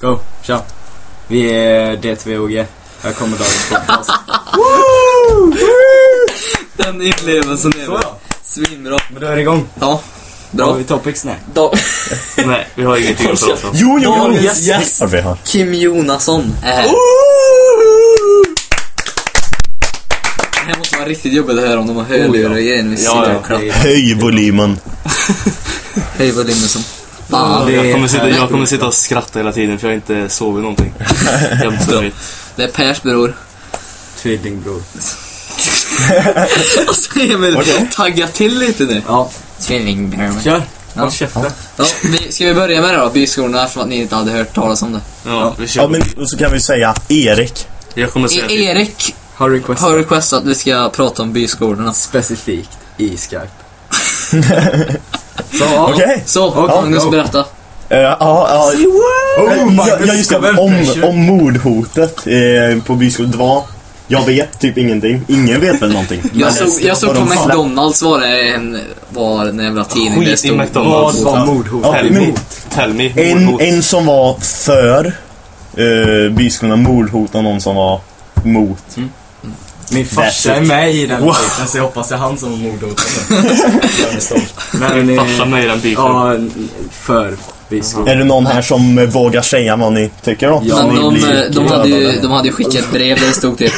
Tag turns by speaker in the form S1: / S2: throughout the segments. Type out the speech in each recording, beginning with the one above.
S1: Go, kör. Vi är D2OG. Här kommer dagens podcast.
S2: Den inlevelsen är
S1: Så
S2: väl
S1: ja.
S2: svinbra.
S1: Men då är det igång.
S2: Ja,
S1: Har
S2: bra.
S1: vi topics? Nej.
S2: Då,
S3: Nej, vi har ingenting att prata om.
S2: jo, jo,
S4: jo,
S2: yes.
S4: Ja, vi har.
S2: Kim Jonasson är här. Det här måste vara riktigt jobbigt att höra om de har hörlurar och grejer vid
S3: Ja,
S2: sidan
S3: ja.
S2: och klappar.
S4: Höj volymen.
S2: Höj volymen som fan.
S1: Det är
S3: Jag kommer, sitta, jag
S1: härligt.
S3: kommer sitta och skratta hela tiden för jag har inte sovit någonting. Jämt sovit.
S2: Det är Pers bror.
S1: Tvillingbror.
S2: Alltså Emil, tagga till lite nu.
S1: Ja,
S2: Tvillingbror.
S1: kör.
S2: Ja.
S1: Håll käften.
S2: Ja, vi, ska vi börja med det då? Byskolorna eftersom att ni inte hade hört talas om det.
S3: Ja, vi kör.
S4: Ja, men och så kan vi säga Erik.
S3: Jag kommer säga
S2: E-
S3: till.
S2: Erik
S1: Har request
S2: har requestat att vi ska prata om byskolorna.
S1: specifikt i Skype. Så, ja.
S4: Okej.
S2: Så,
S1: Ja,
S2: Magnus
S1: go.
S2: berätta.
S4: Eh, Ja, Eh, ja.
S1: Oh,
S4: ja,
S1: Magnus,
S4: ja, just det.
S1: vem
S4: Om,
S1: pressure?
S4: om mordhotet eh, på byskolan. Det var... Jag vet typ ingenting. Ingen vet väl någonting. Men
S2: Jag såg,
S4: det-
S2: jag såg
S4: vad
S2: på
S4: de sa.
S2: McDonalds var det en, var en jävla tidning
S3: Skit i
S1: Vad
S3: McDonalds.
S1: var mordhot?
S4: Ja,
S3: Tell
S4: men-
S3: me. Tell me.
S4: En,
S3: Mordhot.
S4: en som var för eh, byskolan mordhot och någon som var mot.
S1: Min farsa
S4: That's
S1: är
S4: it.
S1: med i den
S4: Wow.
S1: fighten så jag hoppas det är han som mordhotade. Jag är stolt. Men,
S3: Min
S1: eh,
S3: farsa med i den biten.
S1: Ja, för biskop.
S4: Är det någon här som eh, vågar säga vad ni tycker då?
S1: Ja,
S4: Så
S2: Men
S4: ni
S2: de, eh,
S4: blir
S2: de, hade ju,
S4: dödade.
S2: de hade ju skickat brev där det stod typ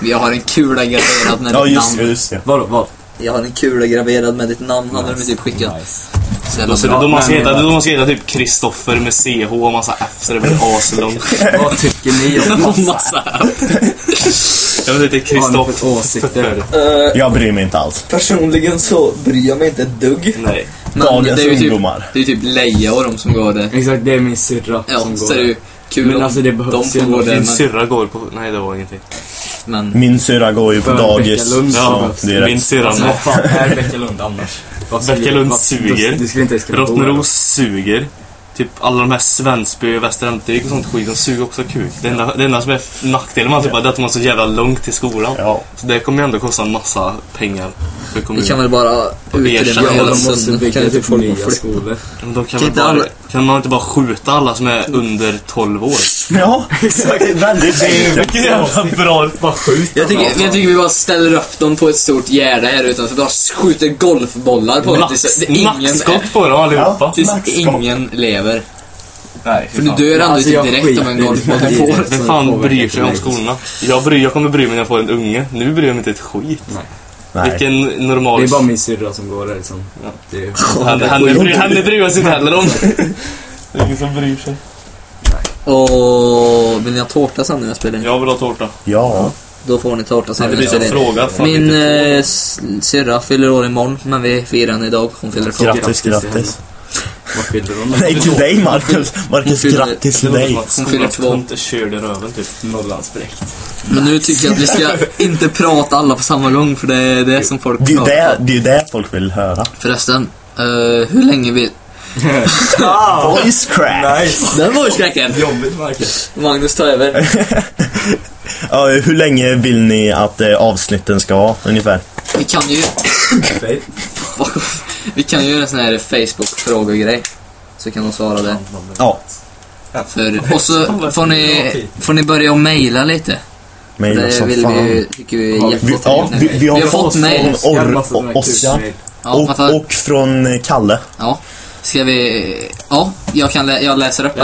S2: Vi har en kula graverad med
S4: Ja,
S2: ditt
S4: just, det,
S2: namn.
S4: just det.
S1: Vadå, vad?
S2: Jag har en kula graverad med ditt namn hade de typ skickat.
S1: Nice.
S2: Så jävla
S3: Då ska-
S2: bra.
S3: då man ska
S1: men-
S3: heta, då man ska heta typ Kristoffer med CH och massa F så det blir aslångt.
S1: Vad tycker ni om
S2: Och massa.
S3: Jag vet inte,
S1: Vad har ni för
S3: Kristoffer.
S1: åsikter?
S4: Jag bryr mig inte alls.
S2: Personligen så bryr jag mig inte ett dugg.
S3: Nej.
S2: Men
S4: Dagens
S2: det är ju typ,
S4: ungdomar.
S2: det är ju typ Leia och de som går där.
S1: Exakt, det är min syrra
S2: Ja,
S1: som går.
S2: så är det ju kul
S1: Men
S2: om
S1: alltså, det
S2: de
S1: behövs ju
S2: får gå
S1: ändå.
S2: där.
S3: Min
S2: Men,
S3: syrra går på... Nej, det var ingenting.
S2: men
S4: Min syrra går ju på
S1: För
S4: dagis.
S1: Becka Lund så
S3: Ja,
S1: behövs det.
S4: direkt.
S3: Min syrra
S1: Alltså,
S3: med.
S1: vad fan är Bäckalund annars? Vad skulle-
S3: Bäckalund
S1: vad-
S3: suger.
S1: Du, du skulle inte ens kunna bo där.
S3: Rottneros suger. Typ alla de här Svensby och Västra Ämtervik och sånt skit, de suger också kuk. Det enda, det enda som är f- nackdelen med allt det är att de har så jävla långt till skolan.
S4: Ja.
S3: Så det kommer ju ändå kosta en massa pengar för
S2: vi
S3: kommunen.
S2: kan väl bara
S3: erkänna
S1: Ja,
S2: utrymma
S3: hela
S2: hela
S1: de måste
S2: Sundet. alltså, Kan
S1: bygga
S2: inte
S1: typ
S2: folk
S1: nya
S2: få flytta?
S1: skolor.
S3: Men de kan,
S2: Kan
S3: väl
S2: inte
S3: bara,
S2: alla-
S3: kan man inte bara skjuta alla som är under 12 år?
S4: Ja, väldigt enkelt.
S3: Vilken jävla bra...
S1: Bara skjut
S2: Jag tycker, jag tycker vi bara ställer upp dem på ett stort gärde här utanför. Bara skjuter golfbollar på dem tills det- ingen,
S3: Nackskott på dem allihopa.
S2: tills
S4: Nackskott.
S2: ingen lever.
S3: Nej,
S2: För du dör ändå
S1: Alltså,
S2: typ
S1: jag
S2: direkt av
S1: skiter
S2: en
S1: i
S2: golfboll
S1: det.
S2: du får.
S3: Vem
S1: Som
S3: fan bryr
S1: påverkar
S3: sig om
S1: mig.
S3: skolorna? Jag, bryr, jag kommer bry mig när jag får en unge. Nu bryr jag mig inte ett skit.
S4: Nej.
S3: Vilken normal...
S1: Det är bara min syrra som går där liksom.
S3: Ja.
S1: Det är ju...
S3: Henne, henne, bryr, henne bryr jag sig inte heller om. Det är ingen som bryr sig.
S2: Och vill ni ha tårta sen när jag spelar in?
S3: Jag vill ha tårta.
S4: Ja.
S2: Då får ni tårta sen när
S3: Det blir
S2: jag
S3: så
S2: spelar in.
S3: frågat. Fan,
S2: Min
S3: lite.
S2: eh, s- syrra fyller år imorgon, men vi firar henne idag. Hon fyller på.
S4: Grattis, grattis.
S1: Vad fyller hon?
S4: Nej, till dig Marcus. Marcus, grattis till dig.
S3: Hon
S2: fyller
S3: fyller
S2: två.
S3: två. Hon körde röven typ.
S1: Norrlandsbräkt.
S2: Men nu tycker jag att vi ska inte prata alla på samma gång, för det är det som folk
S4: Det är ju
S2: pratar
S4: det, det, är ju det folk vill höra.
S2: Förresten, eh, hur länge vill... Ah.
S4: Voice crack.
S1: Nice!
S2: Där var ju skräcken!
S1: Jobbigt Marcus.
S2: Magnus, ta över.
S4: Ja, hur länge vill ni att eh, avsnitten ska vara ungefär?
S2: Vi kan ju...
S1: Fej.
S2: Vi kan ju göra en sån här Facebook-frågegrej. Så kan de svara det.
S4: Ja,
S2: För, och så får ni, får ni börja och mejla lite.
S4: mejla
S2: Det
S4: som
S2: vill
S4: fan.
S2: vi, tycker vi är
S1: Ja, vi-
S4: Vi,
S2: jättetrevligt.
S4: ja, vi, vi har,
S2: Vi har fått mail.
S4: från
S1: Jävla massa
S4: Or-
S1: sådana här
S4: och Ossian
S1: kusmail.
S2: Ja, vänta.
S4: och, och från eh, Kalle.
S2: ja. Ska vi... Ja, jag, kan lä, jag läser upp det.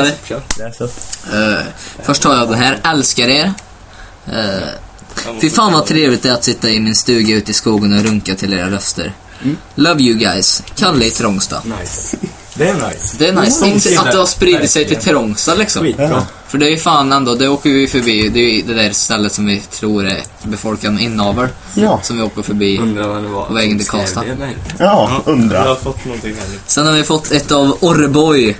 S1: Läs upp, kör.
S2: Eh, först tar jag den här. Älskar er. Eh, Fy fan vad trevligt det är att sitta i min stuga ute i skogen och runka till era röster.
S4: Mm.
S2: Love you guys. Kalle i Trångsta.
S1: Nice. Det är nice.
S2: Det är nice.
S1: Mm.
S2: Inte att Oh, det har spridit sig till
S1: Verkligen.
S2: Trångsta liksom.
S1: Skitbra.
S2: För det är ju fan ändå, det åker vi förbi. Det är ju det där stället som vi tror är ett befolkat inavel.
S4: Ja,
S2: Som vi åker förbi.
S1: Undrar vad det var.
S2: På vägen till
S1: som skrev
S2: Karlstad.
S1: det mejlet.
S4: ja,
S3: Jag har
S4: undra.
S3: fått någonting här nu.
S2: Sen har vi fått ett av Orreboy.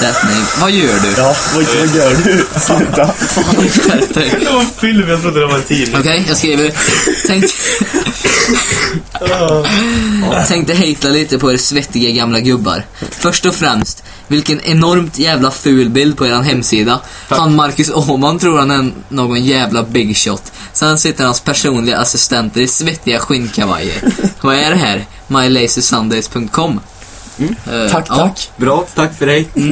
S2: That name. Vad gör du?
S4: Ja, vad vad gör du? Sluta.
S2: Skärp dig.
S3: Det var en film, jag trodde det var en tidning.
S2: Okej, jag skriver. Tänk... Tänkte hejtla lite på er svettiga gamla gubbar. Först och främst, vilken enormt jävla ful bild på eran hemsida. Han Marcus Åhman tror han är någon jävla big shot. Sen sitter hans personliga assistenter i svettiga skinnkavajer. Vad är det här? MyLazysundays.com Eh,
S5: Mm. Tack,
S2: ja.
S5: tack.
S1: Bra, tack för dig.
S2: Eh,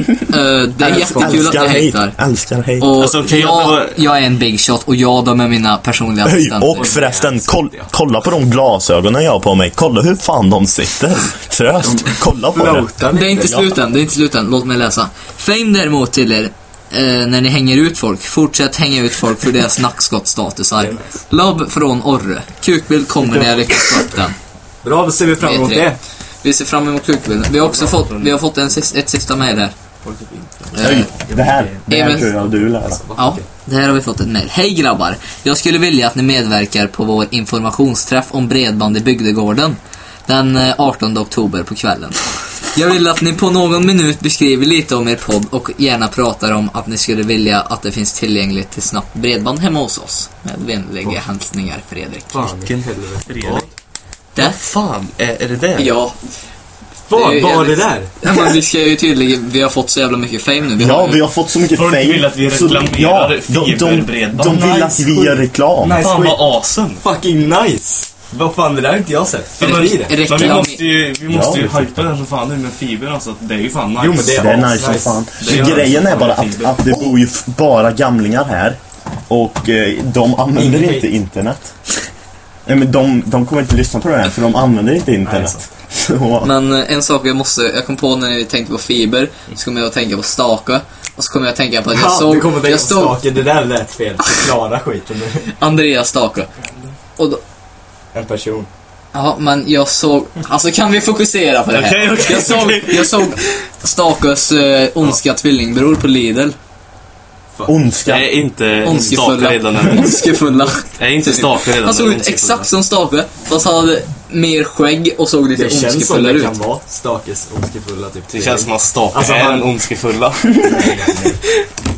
S2: det är jättekul att
S4: Älskar
S2: ni
S4: hej.
S2: hatar.
S4: Älskar hej.
S2: Och
S3: Alltså, okej,
S2: jag,
S3: jag-
S2: jag är en big shot och jag de är mina personliga
S4: Höj,
S2: assistenter.
S4: och förresten, koll, kolla på de glasögonen jag har på mig. Kolla hur fan de sitter. Tröst, kolla på det.
S1: Floatar
S2: Det är inte
S1: lite.
S2: slut än, det är inte slut än. Låt mig läsa. Fame däremot till er, eh, när ni hänger ut folk, fortsätt hänga ut folk för deras nackskottstatusar. Lobb från Orre. Kukbild kommer när jag lyckas få upp den.
S1: Bra, då ser vi fram emot
S2: Vi är tre.
S1: det.
S2: Vi ser fram emot kukbilden. Vi har också fått, vi har fått en, sis- ett sista mejl här. Eh,
S4: Höj, det här, det här
S2: Amen.
S4: tror jag du lär.
S2: Ja, det här har vi fått ett mejl. Hej grabbar! Jag skulle vilja att ni medverkar på vår informationsträff om bredband i bygdegården den eh, 18 oktober på kvällen. Jag vill att ni på någon minut beskriver lite om er podd och gärna pratar om att ni skulle vilja att det finns tillgängligt till snabbt bredband hemma hos oss. Med vänliga hälsningar Fredrik.
S3: Fan,
S1: Vilken helvete.
S3: Fredrik.
S2: Det?
S3: Fan, är, är det det?
S2: Ja.
S1: Vad
S2: ju
S1: var det
S2: jävligt-
S1: där?
S2: ja men vi ska ju tydligen, vi har fått så jävla mycket fame nu. Vi har
S4: Ja,
S2: ju-
S4: vi har fått så mycket
S3: Folk
S4: fame.
S3: vill att vi
S4: så-
S3: reklamerar
S4: de, de, de
S3: fiberbredband.
S4: vill att
S1: Nice,
S4: vi gör
S1: skit.
S4: reklam.
S1: Nej.
S3: Fan vad awesome!
S1: Fucking nice! Vad fan, det där har inte jag sett. Fyller i det?
S2: Re-
S3: Men vi
S2: reklam-
S3: måste ju, vi måste ju
S4: Ja.
S3: hypa den här som fan nu med fiber alltså. Det är ju fan nice.
S1: Jo, men
S4: Det är
S1: Ja,
S4: nice som
S1: nice.
S4: fan.
S3: Det är
S4: Grejen
S3: nice.
S4: är bara att, att det bor ju f- bara gamlingar här. Och eh, de använder
S1: Ingen
S4: inte
S1: hate.
S4: internet. Nej, men de, de kommer inte lyssna på det här för de använder inte
S1: Nej,
S4: internet. Så,
S2: Men eh, en sak jag måste, jag kom på när vi tänkte på fiber, så kom jag att tänka på stake. Och så kom jag att tänka på att jag
S1: Ja, du kommer
S2: såg,
S1: tänka på
S2: jag såg
S1: saker. Det där lät fel. Förklara skiten nu.
S2: Andreas stake. Och då,
S1: En person.
S2: ja men jag såg, alltså kan vi fokusera på det här?
S3: Okej, okej,
S2: jag, såg,
S3: okej.
S2: jag såg Stakes eh, ondska tvillingbror på Lidl.
S4: ondska.
S3: Är inte stake redan
S2: Ondskefulla.
S3: en...
S2: Ondskefulla.
S3: Är inte stake redan
S2: Han såg
S3: en
S2: ut
S3: ondskefull?
S2: exakt som Stake, fast han hade mer skägg och såg lite
S1: Det känns som
S2: ondskefullare
S1: det
S2: ut.
S1: kan vara Stakes ondskefulla typ.
S3: Det känns som att stake
S1: Alltså,
S3: är
S1: han-
S3: den ondskefulla.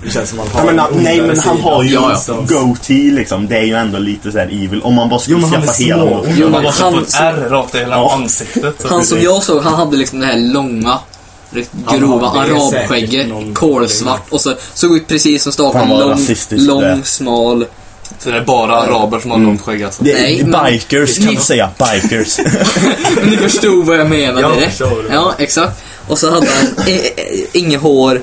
S1: Det känns som han har
S4: Ja, men,
S1: en
S4: han- nej
S1: ondare
S4: men han
S1: sida.
S4: har ju
S2: Ja,
S1: ja.
S4: en goatee liksom. Det är ju ändå lite såhär evil. Om man bara
S1: Jo,
S4: skulle
S1: men han är
S4: skaffa hela
S1: små.
S4: honom.
S2: Jo,
S3: Han bara
S2: han-
S3: fått ett ärr rakt i hela
S4: Ja.
S3: ansiktet.
S2: Han som jag såg, han hade liksom det här långa, riktigt grova
S1: Ja, det är säkert
S2: arabskägget,
S1: någon-
S2: kolsvart och så såg ut precis som Stakan.
S4: Fan, vad
S2: Lång,
S4: rasistiskt det är.
S2: lång, smal.
S3: Så det är bara araber som har långt skägg alltså.
S4: Det,
S2: Nej, men-
S4: bikers kan
S2: Ni-
S4: man säga. Bikers.
S2: Men ni förstod vad jag menade
S1: Jag
S2: direkt.
S1: förstår vad du menar.
S2: Ja, exakt. Och så hade han eh, eh, inget hår.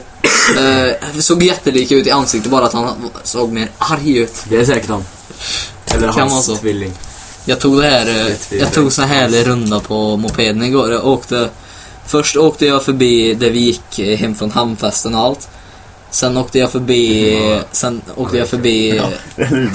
S2: Eh, såg jättelik ut i ansiktet, bara att han såg mer arg ut.
S1: Det är säkert han. Eller
S2: Kan vara
S1: hans
S2: så.
S1: tvilling.
S2: Jag tog det här, eh,
S1: tvivel.
S2: jag tog sån här runda på mopeden igår. Jag åkte, först åkte jag förbi där vi gick eh, hem från hamnfesten och allt. Sen åkte jag förbi, sen åkte jag förbi,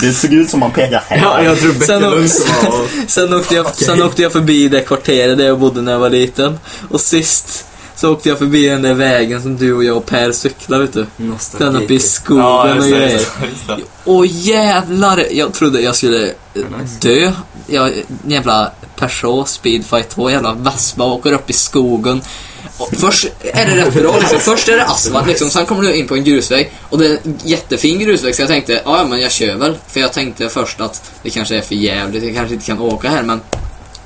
S4: det såg ut som man pekade här.
S1: Ja, jag tror
S2: Sen-
S1: Beckelund som var...
S2: sen åkte jag, sen åkte jag förbi det kvarteret där jag bodde när jag var liten. Och sist så åkte jag förbi den där vägen som du och jag och Per cyklade vet du.
S1: Nostalgi.
S2: Den uppe i skogen
S3: Ja,
S2: och
S3: just det,
S2: grejer.
S3: just det, just det.
S2: Åh jävlar! Jag trodde jag skulle eh,
S1: nice.
S2: dö. Jag, en jävla Peugeot Speedfight 2, jävla vespa, åker upp i skogen. Och först är det rätt bra liksom. Först är det asfalt liksom, sen kommer du in på en grusväg. Och det är en jättefin grusväg, så jag tänkte, "Ja, ja men jag kör väl. För jag tänkte först att det kanske är för jävligt, jag kanske inte kan åka här men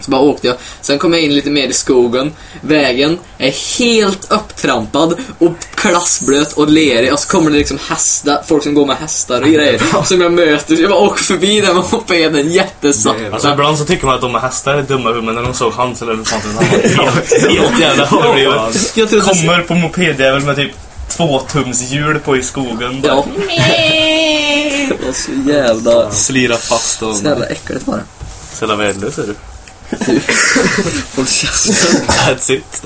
S2: så bara åkte jag. Sen kom jag in lite mer i skogen. Vägen är helt upptrampad och klassblöt och lerig. Och så kommer det liksom hästar, folk som går med hästar och grejer. Som jag möter. Jag bara åker förbi den med mopeden jättesakta.
S3: Alltså ibland så tycker man att de här hästar är dumma i huvudet, men när de såg hans eller elefanten, han var helt, helt jävla överdriven.
S2: Jag trodde...
S3: Kommer på mopedjävel med typ tvåtumshjul på i skogen. Bara
S2: Ja. Det var så jävla...
S3: Slira fast och...
S2: Så jävla äckligt var det.
S3: Så jävla värdelös är du.
S2: Håll käften.
S3: That's it.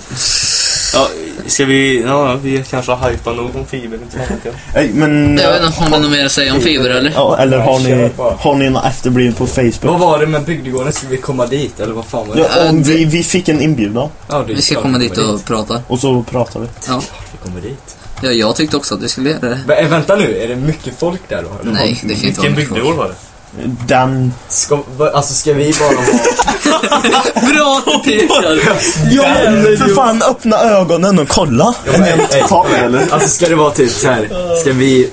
S3: Ja, ska vi... Ja, vi kanske har hypat nog om fiber, inte fan vet jag.
S4: Nej, men...
S2: Jag vet inte, har ni något mer att säga om fiber eller?
S4: Ja, eller har
S1: Kör
S4: ni,
S1: bara.
S4: har ni någon efterbliven på Facebook?
S1: Vad var det med bygdegården? Skulle vi komma dit eller vad fan var det?
S4: Ja, om vi, vi fick en inbjudan
S1: Ja, det är
S2: Vi ska
S1: klart
S2: komma
S1: vi
S2: dit och prata.
S4: och så pratade vi.
S2: Ja.
S1: Vi kommer dit.
S2: ja, jag tyckte också att vi skulle göra det.
S1: Men, eh, vänta nu, är det mycket folk där då? Eller
S2: Nej, det kan inte vara
S3: Vilken
S2: mycket folk.
S3: bygdegård var det?
S4: Den...
S1: vad? Ska, va, alltså ska vi bara ha...
S2: Bra att du pekar!
S4: Ja, för fan öppna ögonen och kolla!
S1: Ja, men, eh,
S4: Ta mig, eller?
S1: alltså ska det vara typ så här. ska vi...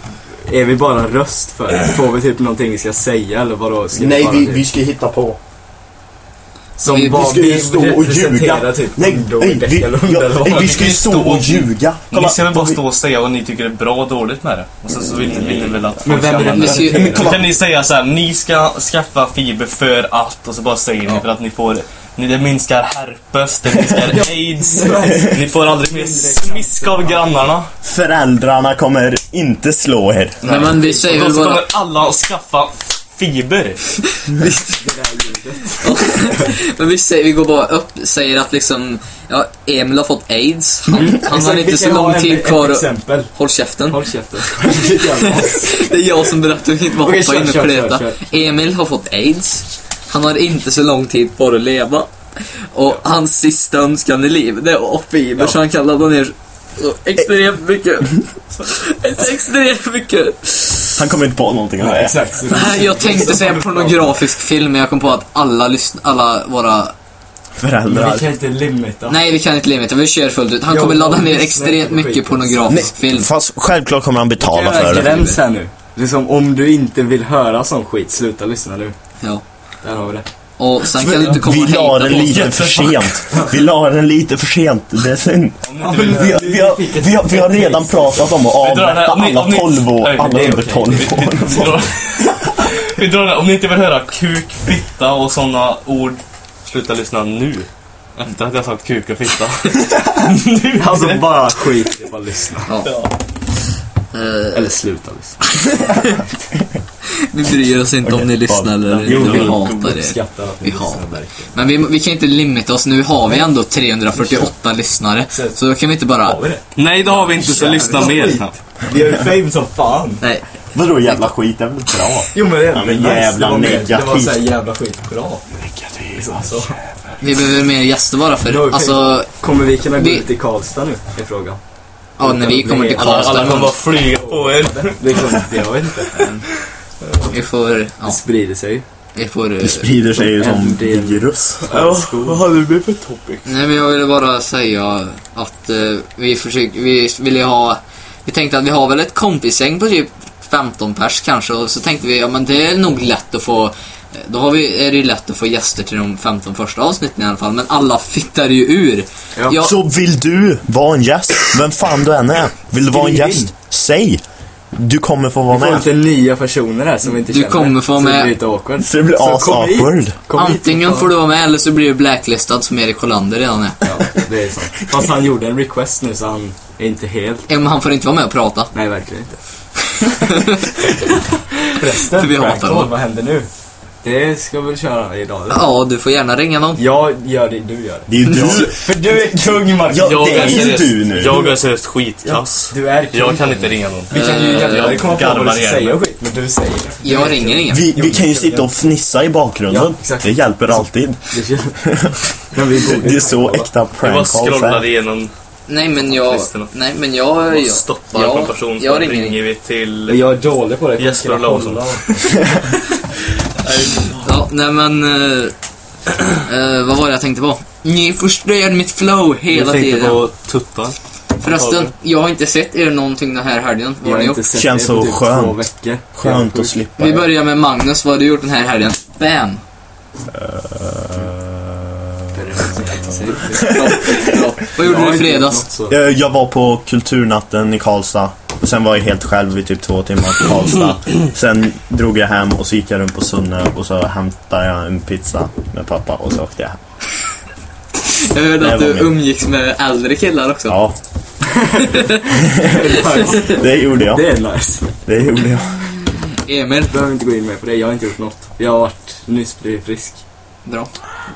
S1: Är vi bara en röst för det? Får vi typ någonting vi ska säga eller vadå? Ska
S4: Nej,
S1: bara
S4: vi,
S1: typ-
S4: vi ska hitta på.
S1: Som
S2: vi- vi
S1: vad
S4: ska ju stå och
S1: representerar
S4: ljuga.
S1: Typ,
S4: Nej,
S1: ungdom i
S4: nej, vi,
S1: Beckelund,
S4: ja,
S1: eller vad?
S4: nej, vi ska ju stå och ljuga.
S3: Ni ska väl bara stå och säga vad ni tycker är bra och dåligt med det? Och sen så vill ni, vill ni väl att
S1: Men
S3: folk ska
S1: vem är det
S3: använda
S2: Vi
S3: det?
S2: ska ju-
S4: Men
S3: Då
S4: kolla,
S3: kan ni säga så här: ni ska skaffa fiber för att och så bara säger ni för att ni får Ni- Det minskar herpes, det minskar aids. Ni får aldrig mer smisk av grannarna.
S4: Föräldrarna kommer inte slå er.
S2: Nej, men vi säger
S3: Då
S2: väl bara...
S3: kommer alla att skaffa fiber.
S2: Men vi, säger, vi går bara upp, säger att liksom... Ja, Emil har fått aids. Han, han har inte så lång tid kvar
S1: Ett
S2: att...
S1: exempel.
S2: Håll käften.
S1: Håll käften.
S2: Det är jag som berättar, vi kan inte bara
S1: Okej,
S2: hoppa
S1: kör,
S2: in och
S1: kör, kör,
S2: kleta.
S1: kör.
S2: Emil har fått aids. Han har inte så lång tid kvar att leva. Och hans sista önskan i livet det är att fiber, så han kan ladda ner så extremt mycket. Ett extremt mycket.
S4: Han kommer inte på någonting av det.
S1: Exakt.
S2: Nej, jag tänkte säga en pornografisk film, men jag kom på att alla lyssn- alla våra...
S1: Men
S4: Föräldrar.
S1: vi kan inte limita.
S2: Nej, vi kan inte limita, vi kör fullt ut. Han
S1: Jo,
S2: kommer ladda
S1: om
S2: ner
S1: lyssnar
S2: extremt
S1: på
S2: mycket
S1: skiten.
S2: pornografisk film.
S4: Fast självklart kommer han
S1: Det
S4: betala för
S1: är en
S4: det.
S1: gräns här nu. Liksom, om du inte vill höra sån skit, sluta lyssna nu.
S2: Ja.
S1: Där har vi det.
S2: Och sen kan du inte komma
S4: Vi
S2: och hejta på
S4: la den
S2: oss.
S4: lite för sent. Vi la den lite för sent. Det är synd. Vi har, vi, har, vi, har, vi har redan pratat om att
S3: Vi drar den här-
S4: avrätta
S3: om ni-
S4: alla
S3: om ni-
S4: 12 år.
S3: Nej, det är
S4: Alla under
S1: okej.
S4: 12 år.
S3: Vi drar- Vi drar den här. Om ni inte vill höra kuk, fitta och sådana ord, sluta lyssna nu. Efter att jag sagt kuk och fitta. nu.
S1: Alltså bara skit i bara lyssna.
S2: Ja. Eh,
S1: Eller sluta lyssna.
S2: Vi bryr oss inte om ni lyssnar eller inte, vi hatar det.
S1: Uppskattar att ni
S2: Vi
S1: lyssnar,
S2: hatar.
S1: verkligen.
S2: Men vi, vi kan inte limita oss, nu har vi ändå 348 lyssnare. Så då kan vi inte bara...
S1: Har vi det?
S3: Nej, det har vi inte, så lyssna mer.
S1: Vi har ju fame som fan.
S2: Nej,
S4: Vadå jävla skit? Det är väl bra?
S1: Jo men det är
S4: Ja, men
S1: nice.
S4: jävla
S1: Det var mer- Det var
S4: negativt.
S1: såhär jävla skit bra. Liksom så.
S2: vi behöver mer gäster bara
S1: Det har vi
S2: för... Alltså,
S1: Kommer vi kunna gå
S2: Vi-
S1: ut till Karlstad nu? Är frågan.
S2: ja, när vi kommer till
S3: Alla, alla kommer bara
S2: Karlstad.
S3: flyga på er.
S1: Liksom, det- jag vet inte.
S2: Vi får... Ja,
S1: Det sprider sig ju.
S2: vi får... eh,
S4: Sprider sig ju som virus.
S3: vad hade du för topic?
S2: Nej, men jag ville bara säga att eh, vi försöker... Vi ville ha... Vi tänkte att vi har väl ett kompisgäng på typ 15 pers kanske och så tänkte vi, ja men det är nog lätt att få eh, då har vi, är det ju lätt att få gäster till de 15 första avsnitten i alla fall, men alla fittar ju ur.
S1: Ja.
S2: Jag-
S4: Så vill du vara en gäst, vem fan du än är, vill du vara en
S1: Skriv in.
S4: gäst, säg! Du kommer få vara
S1: Vi får
S4: med.
S1: lite nya personer här som vi inte
S2: Du
S1: känner.
S2: kommer få
S1: så
S2: med-
S1: det blir lite awkward.
S4: Så det blir
S1: kom hit.
S4: as-awkward.
S1: Kom hit,
S2: Antingen
S1: fan.
S2: får du vara med eller så blir du blacklistad som Erik Hollander redan är.
S1: Ja, det är sant. Fast han gjorde en request nu så han är inte helt...
S2: Ja, men han får inte vara med och prata.
S1: Nej, verkligen inte. Förresten,
S2: För vi hatar
S1: Fractal,
S2: honom.
S1: vad händer nu? Det ska vi väl köra idag eller?
S2: Ja, du får gärna ringa någon.
S1: Jag gör det, du gör det.
S4: Det är ju du.
S1: För du är kung Marcus.
S4: Ja,
S3: Jag
S4: det är ju du nu.
S3: Jag är seriöst skitkass.
S1: Du är kung.
S3: Jag kan inte ringa någon.
S1: Vi kan ju
S2: Eh,
S1: jävlar komma på vad
S3: garvar
S1: du ska
S3: igen.
S1: säga och skit, men du säger det.
S2: Jag ringer ingen.
S4: Vi, vi kan ju sitta och fnissa i bakgrunden.
S1: Ja, exakt.
S4: Det hjälper alltid.
S1: Det är- men vi borde
S4: Det är så äkta
S3: Jag bara
S4: prank calls
S3: scrollar
S4: är.
S3: igenom
S2: Nej, men jag...
S3: Listorna.
S2: Nej, men jag...
S3: och
S2: jag
S3: stoppar
S2: jag-
S3: på en person.
S2: Jag
S3: Så
S2: ringer
S3: ringer
S2: ingen.
S3: vi till...
S1: Jag är dålig på det.
S3: Jesper
S1: Jag kan
S3: Larsson.
S1: kolla.
S2: Ja, nej men... eh, eh, vad var det jag tänkte på? Ni förstör mitt flow hela
S3: Jag tänkte
S2: tiden.
S3: på tuttar.
S2: Förresten, jag har inte sett er någonting den här helgen. Vad
S1: Jag
S2: har
S1: har
S2: ni
S1: inte
S2: gjort?
S1: sett
S4: Känns
S1: det på
S4: så
S1: typ
S4: skönt.
S1: två veckor.
S4: Skönt att slippa.
S2: Vi börjar med Magnus. Vad har du gjort den här helgen? Bam! Ja, ja. Vad gjorde du i fredags?
S4: Eh, Jag var på kulturnatten i Karlstad. Och sen var jag helt själv i typ två timmar i Karlstad. Sen drog jag hem och så gick jag runt på Sunne och så hämtade jag en pizza med pappa och så åkte jag hem.
S2: Jag hörde
S4: Nej,
S2: att du
S4: vad mer?
S2: umgicks med äldre killar också.
S4: Ja,
S1: Det
S4: det gjorde jag.
S1: är nice.
S4: Det gjorde jag.
S2: Emil,
S1: Behöver inte gå in mer på det. Jag har inte gjort något. Jag har varit nyss blivit frisk.
S2: bra.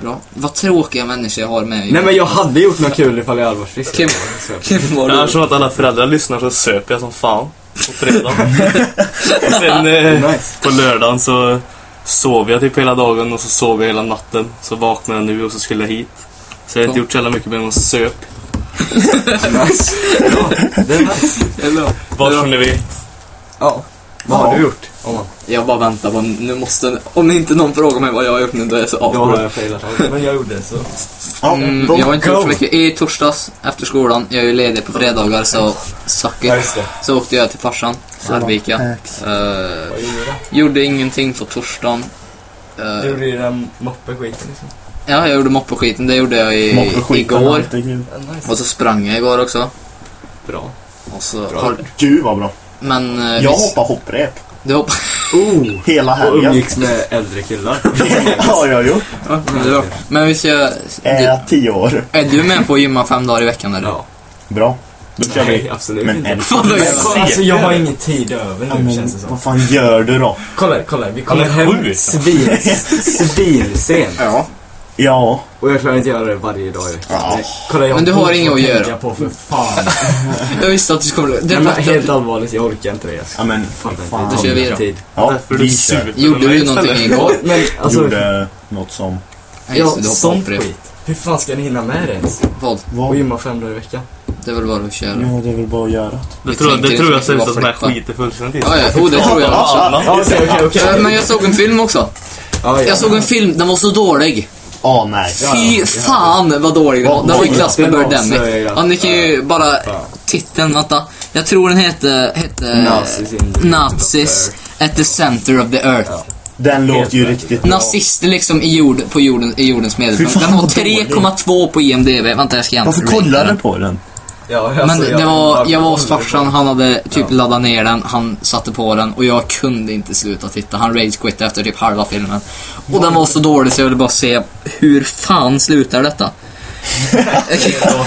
S2: Bra. Vad tråkiga människor jag har med mig.
S1: Nej men jag hade gjort något kul ifall jag hade varit frisk.
S2: Kim.
S1: Så.
S2: Kim, vad har du
S3: Jag
S2: gjort?
S3: tror att alla föräldrar lyssnar så söper jag som fan. På fredagen. och sen eh,
S1: Nice.
S3: på lördagen så sov jag typ hela dagen och så sov jag hela natten. Så vaknade jag nu och så skulle jag hit. Så jag har inte gjort så jävla mycket mer än att söp.
S1: nice. Ja, det är nice.
S2: Eller-
S3: Vad kunde vi?
S1: Ja. Vad har
S4: Ja.
S1: du gjort? Om man,
S2: Jag bara väntar på, nu måste, om inte någon frågar mig vad jag har gjort nu, då är jag så
S1: jag
S2: avbrutt.
S1: har jag failat allt, men jag gjorde det så.
S4: Ja,
S2: Mm,
S4: då-
S2: jag har inte gjort
S4: go.
S2: så mycket. I torsdags efter skolan, jag är ju ledig på fredagar så suck it.
S1: Ja, just det.
S2: Så åkte jag till farsan, Arvika. Eh,
S1: Vad gjorde du?
S2: gjorde ingenting på torsdagen. Eh,
S1: Du gjorde ju den moppeskiten liksom.
S2: ja, jag gjorde moppeskiten, det gjorde jag i,
S4: Moppe skiten,
S2: igår.
S4: herregud.
S1: Ja,
S2: Och
S1: Nice.
S2: så sprang jag igår också.
S1: Bra.
S2: Och så
S1: Bra.
S2: har,
S4: Gud vad bra.
S2: men eh,
S4: Jag
S2: vi-
S4: hoppar hopprep.
S2: Du hoppar...
S1: Oh!
S4: Hela
S1: Och
S4: helgen.
S1: umgicks med äldre killar.
S4: har jag gjort.
S2: Men vi ska... Du,
S4: Äh, tio år.
S2: är du med på att gymma fem dagar i veckan eller?
S1: Ja.
S4: Bra. Då kör
S1: Nej,
S4: vi.
S1: absolut
S4: Men
S1: inte.
S4: en...
S2: Fan, vad jag-
S1: Kolla, Alltså jag har ingen tid över nu känns det som.
S4: Vad fan gör du då?
S1: Kolla, här, kolla. här. Vi kommer
S3: Han är
S1: hem
S3: sjuk.
S1: svin, svinsent.
S4: Ja. Ja.
S1: Och jag klarar inte göra det varje dag i veckan.
S4: Ja.
S1: Nej, Kolla, jag
S2: Men du har
S1: bort
S2: inget att
S1: tänka
S2: göra.
S1: på för fan.
S2: Jag visste att du skulle... Det
S1: Nej, men helt
S2: fattar-
S1: allvarligt, jag orkar inte det. Alltså.
S4: Ja men
S1: Fan, det är
S4: fan.
S1: inte
S2: Då kör vi då.
S1: tid. Äh,
S4: Ja,
S3: För
S4: vi
S3: du
S4: kör.
S3: super
S2: Gjorde
S3: mig
S2: du någonting
S3: istället.
S2: igår?
S1: Men alltså,
S4: Gjorde något som...
S1: ja,
S2: Ja, just det, du hoppade
S1: sånt
S2: upp det.
S1: skit. Hur fan ska ni hinna med det ens?
S2: Vad?
S1: Och
S4: Vad?
S1: gymma fem dagar i veckan?
S2: Det är väl bara att köra.
S4: det är väl bara att göra.
S3: Det
S2: Vi
S3: tror, jag-
S2: tänkte
S3: det tror jag
S2: liksom
S3: ser ut
S2: bara
S3: som den här
S2: flippa.
S3: skiten fullständigt.
S2: Ja, ja, jo, det tror jag också.
S3: Alla.
S1: Ja, Okej, okej,
S2: Eh,
S1: okej.
S2: Men jag såg en film också.
S1: Ja, ja.
S2: Jag såg en film, den var så dålig.
S4: Ja, nej.
S1: Ja, ja,
S2: Fy
S1: ja.
S2: fan vad dålig den var. Den var i klass med Birdemic. Ja, ni kan ju bara...
S1: Ja.
S2: Titeln, vänta. Jag tror den hette... hette
S1: Nazis in the
S2: Nazis at the center of the earth.
S1: Ja.
S4: Den låter ju
S1: Helt
S4: riktigt bra.
S2: Nazister liksom i, jord, på jorden, i jordens medelpunkt.
S4: Fy fan,
S2: Den har
S4: vad dålig.
S2: 3,2 på IMDB. Vänta, jag ska igen.
S4: Varför
S2: rate
S4: kollar
S2: den.
S4: du på den?
S1: Ja,
S2: Men
S1: alltså,
S2: det var, jag var hos farsan, han hade
S1: Ja.
S2: typ laddat ner den, han satte på den och jag kunde inte sluta titta. Han ragequittade efter typ halva filmen. Och den var så dålig så jag ville bara se, hur fan slutar detta?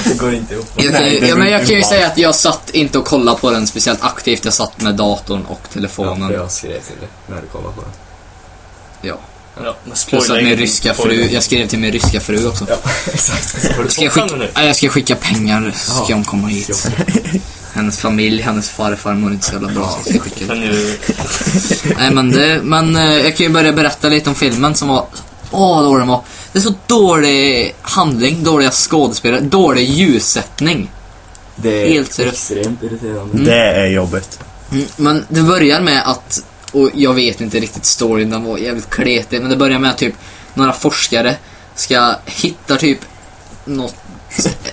S1: Det går inte ihop.
S2: Jag kan,
S4: Nej,
S2: ju-
S4: det
S2: ja, men
S4: är
S2: jag kan ju
S4: inte
S2: säga att jag satt inte och kollade på den speciellt aktivt, jag satt med datorn och
S1: Ja, för
S2: telefonen.
S1: jag skrev till dig när du kollade på det.
S2: Ja.
S3: Ja, men
S2: Plus att
S3: spoiler
S2: min
S3: ingen-
S2: ryska
S3: spoiler
S2: fru, jag skrev till min ryska fru också.
S1: Exakt.
S3: Har du
S2: Ska jag,
S3: fått
S2: skicka,
S3: den nu?
S2: ja, jag ska skicka pengar, ska
S1: Ja.
S2: hon komma hit. Hennes familj, hennes farfar mår inte så jävla bra. så jag ska skicka
S3: Den är ju...
S2: Nej men det, men eh, jag kan ju börja berätta lite om filmen som var, åh vad dålig den var. Det är så dålig handling, dåliga skådespelare, dålig ljussättning.
S1: Det är
S2: Helt seriöst.
S1: extremt irriterande.
S4: Det är jobbigt.
S2: Mm, Men det börjar med att, och jag vet inte riktigt storyn, den var jävligt kletig, men det börjar med att typ några forskare ska hitta typ något,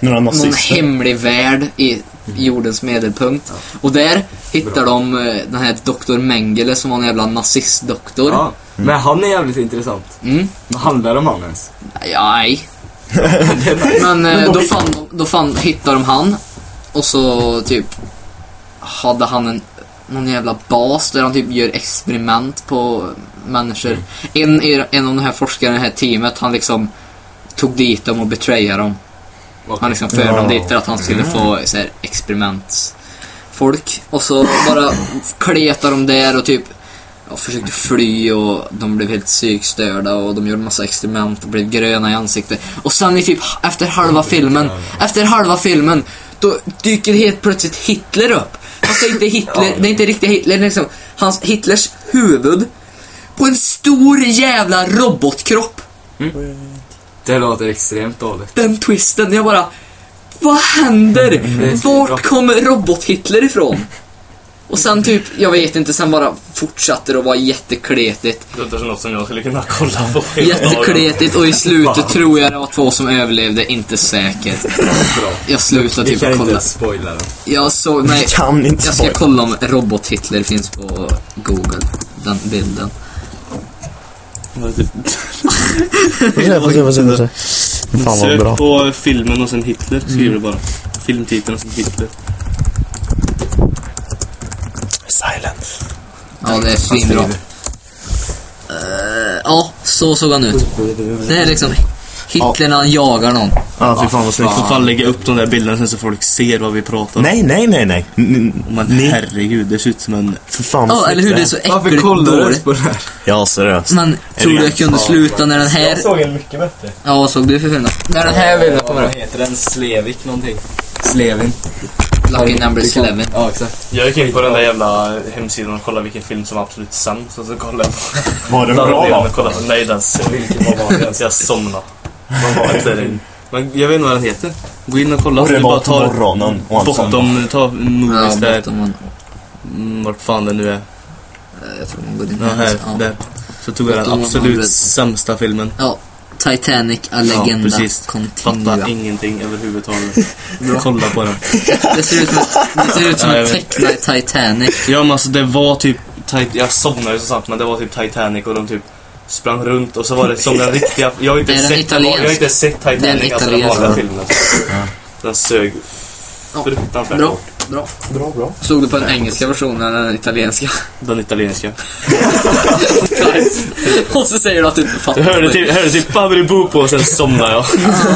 S4: Några
S2: någon
S4: nazister.
S2: hemlig värld i jordens medelpunkt. Och där hittar
S1: Bra.
S2: de eh, den här doktor Mengele som var en jävla nazistdoktor.
S1: Ja. Men han är jävligt intressant.
S2: Mm.
S1: Vad handlar det om han ens?
S2: Ja, nej. Men eh, då, fann, de- då fann, hittade de han. Och så typ hade han en, någon jävla bas där han typ gör experiment på människor. En, är- en av de här forskarna i det här teamet, han liksom tog dit dem och betrayade dem. Han liksom förde dem
S4: Wow.
S2: dit för att han skulle få så här, experimentsfolk. Och så bara kletade de där och typ ja, försökte fly och de blev helt psykstörda och de gjorde massa experiment och blev gröna i ansiktet. Och sen i typ efter halva filmen, efter halva filmen, då dyker helt plötsligt Hitler upp. Fast det är inte Hitler, det är inte riktigt Hitler, det är liksom hans, Hitlers huvud på en stor jävla robotkropp.
S1: Det låter extremt dåligt.
S2: den twisten. Jag bara, vad händer?
S1: Mm,
S2: Vart kommer robot-Hitler ifrån? Och sen typ, jag vet inte, sen bara fortsatte det att vara jättekletigt.
S3: Det låter som något som jag skulle kunna kolla på. hela dagen.
S2: Jättekletigt och i slutet tror jag det var två som överlevde, inte säkert.
S1: Bra.
S2: Jag slutade
S1: Vi
S2: typ
S1: kan
S2: att
S1: inte
S2: kolla.
S1: ens spoila det.
S2: Jag såg, nej.
S4: Kan inte
S2: Jag ska
S4: spoila.
S2: kolla om robot-Hitler finns på Google, den bilden.
S3: Typ,
S4: Fan vad
S3: Sök
S4: bra.
S3: på filmen och sen Hitler skriver du bara. Filmtiteln och sen Hitler.
S4: Silence.
S2: Ja, det är svinbra. Eh, Ja, så såg han ut. Det är liksom Hitler när han jagar någon.
S4: Ja, fy fan vad snyggt.
S3: Jag får fan lägga upp de där bilderna sen så folk ser vad vi pratar om.
S4: Nej, nej, nej, nej. N-
S3: Men
S4: Ni,
S3: herregud, det ser ut som en...
S4: för fan vad
S2: Ja, eller
S4: snyggt
S2: hur? Det är
S4: det
S2: så Mm.
S1: Varför
S2: äckligt
S1: kollar du ens
S2: dåligt.
S1: på det här?
S4: Ja, seriöst.
S2: Men tror du jag kunde sluta när den här...
S1: såg en mycket bättre.
S2: Ja, vad såg du för film då? När den här bilden kommer
S1: Vad
S2: upp.
S1: heter den? Slevik någonting? Slevin.
S2: Lucky number
S1: Du kan-
S2: 11.
S1: Ja, exakt.
S3: Jag gick in på den där jävla hemsidan och kollade vilken film som var absolut sämst och så kollade jag på
S4: Var det
S3: den.
S4: bra
S3: delen
S4: då?
S3: och kollade på- Nej, den ser...
S1: Vilken var vanligast?
S3: Jag somnade. Vad var det? där inne? Men jag vet inte vad den heter. Gå in och kolla.
S4: Och det
S3: Du
S4: var
S3: bara
S4: på
S3: tar
S4: morgonen. och han sa-
S3: bottom, ta
S2: Ja,
S3: movies där.
S2: bottom one.
S3: Mm, Vart fan det nu är.
S2: Eh, Jag tror man går in
S3: Ja, här.
S2: här.
S3: Där. Så tog jag den
S2: Bottom one
S3: absolut
S2: hundred.
S3: sämsta filmen.
S2: Ja. Titanic, A Legenda,
S3: precis. Fattar
S2: Continua.
S3: ingenting överhuvudtaget. Kolla på den.
S2: Det ser ut som, det ser ut som
S3: Ja, jag
S2: en
S3: vet.
S2: tecknad Titanic.
S3: Ja men alltså det var typ, Tit- jag somnade ju så snabbt men det var typ Titanic och de typ sprang runt och så var det som den riktiga, jag har inte,
S2: Är den
S3: sett, den jag har inte sett
S2: Den
S3: Titanic, alltså den vanliga
S2: italiensk.
S3: filmen. Den sög
S2: Ja,
S3: fruktansvärt
S2: bra.
S3: hårt.
S2: Bra.
S5: Bra, bra.
S2: Såg du på den engelska versionen eller den italienska?
S3: Den italienska.
S2: Och så säger du att du inte fattar.
S3: Jag hörde typ, jag hörde typ Baberibo på och sen somnade jag.
S2: Ah,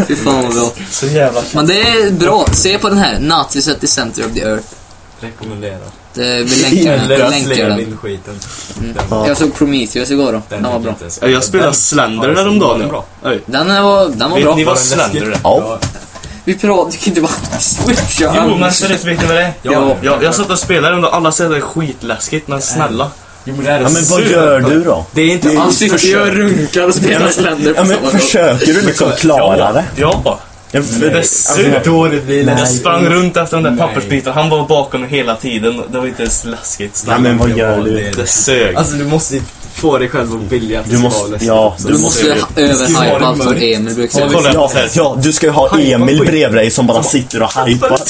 S2: Fy fan vad bra.
S5: Så jävla kul.
S2: Men det är bra. Se på den här. Nazis at the center of the earth.
S1: Rekommenderar.
S2: Det, vi länkar den. Vi
S1: Eller
S2: länkar
S1: slänga
S2: den.
S1: vindskiten.
S4: Ja.
S2: Jag såg Prometheus igår då. Den var bra.
S3: Ja, Jag spelade Slender häromdagen. ja. Oj.
S2: Den var, den var
S3: Vet
S2: bra.
S3: ni vad Slender är?
S1: Ja.
S2: Vi pratar, du kan inte bara switcha.
S3: Jo, men
S2: annars.
S3: seriöst, vet ni vad det är?
S2: Ja.
S3: Jag, jag satt och spelade den och alla säger att det är skitläskigt, men snälla.
S1: Jo, men det här är
S4: Ja, men vad
S1: super-
S4: gör du då?
S1: Det är inte
S2: Han
S1: alls
S2: sitter ju och runkar och spelar Slender på
S4: Ja,
S2: samma
S4: men
S2: gång.
S4: försöker du liksom klara det? Alltså,
S3: Ja.
S4: Jag,
S3: Det är
S1: hur
S3: surt.
S1: dåligt blir det.
S3: Jag sprang runt efter de där
S1: Nej.
S3: pappersbitarna. Han var bakom mig hela tiden. Det var inte ens läskigt.
S4: ja, men vad gör du?
S3: Det sög.
S1: Alltså du måste ju få dig själv att vilja att
S4: Du
S1: det ska
S4: måste-
S1: vara läskigt
S4: ja,
S1: också.
S4: du
S2: Du måste överhypa allt vad Emil brukar säga.
S3: Kolla
S4: Ja,
S3: på här.
S4: ja, du ska ju ha Emil bredvid dig som bara sitter och hajpar.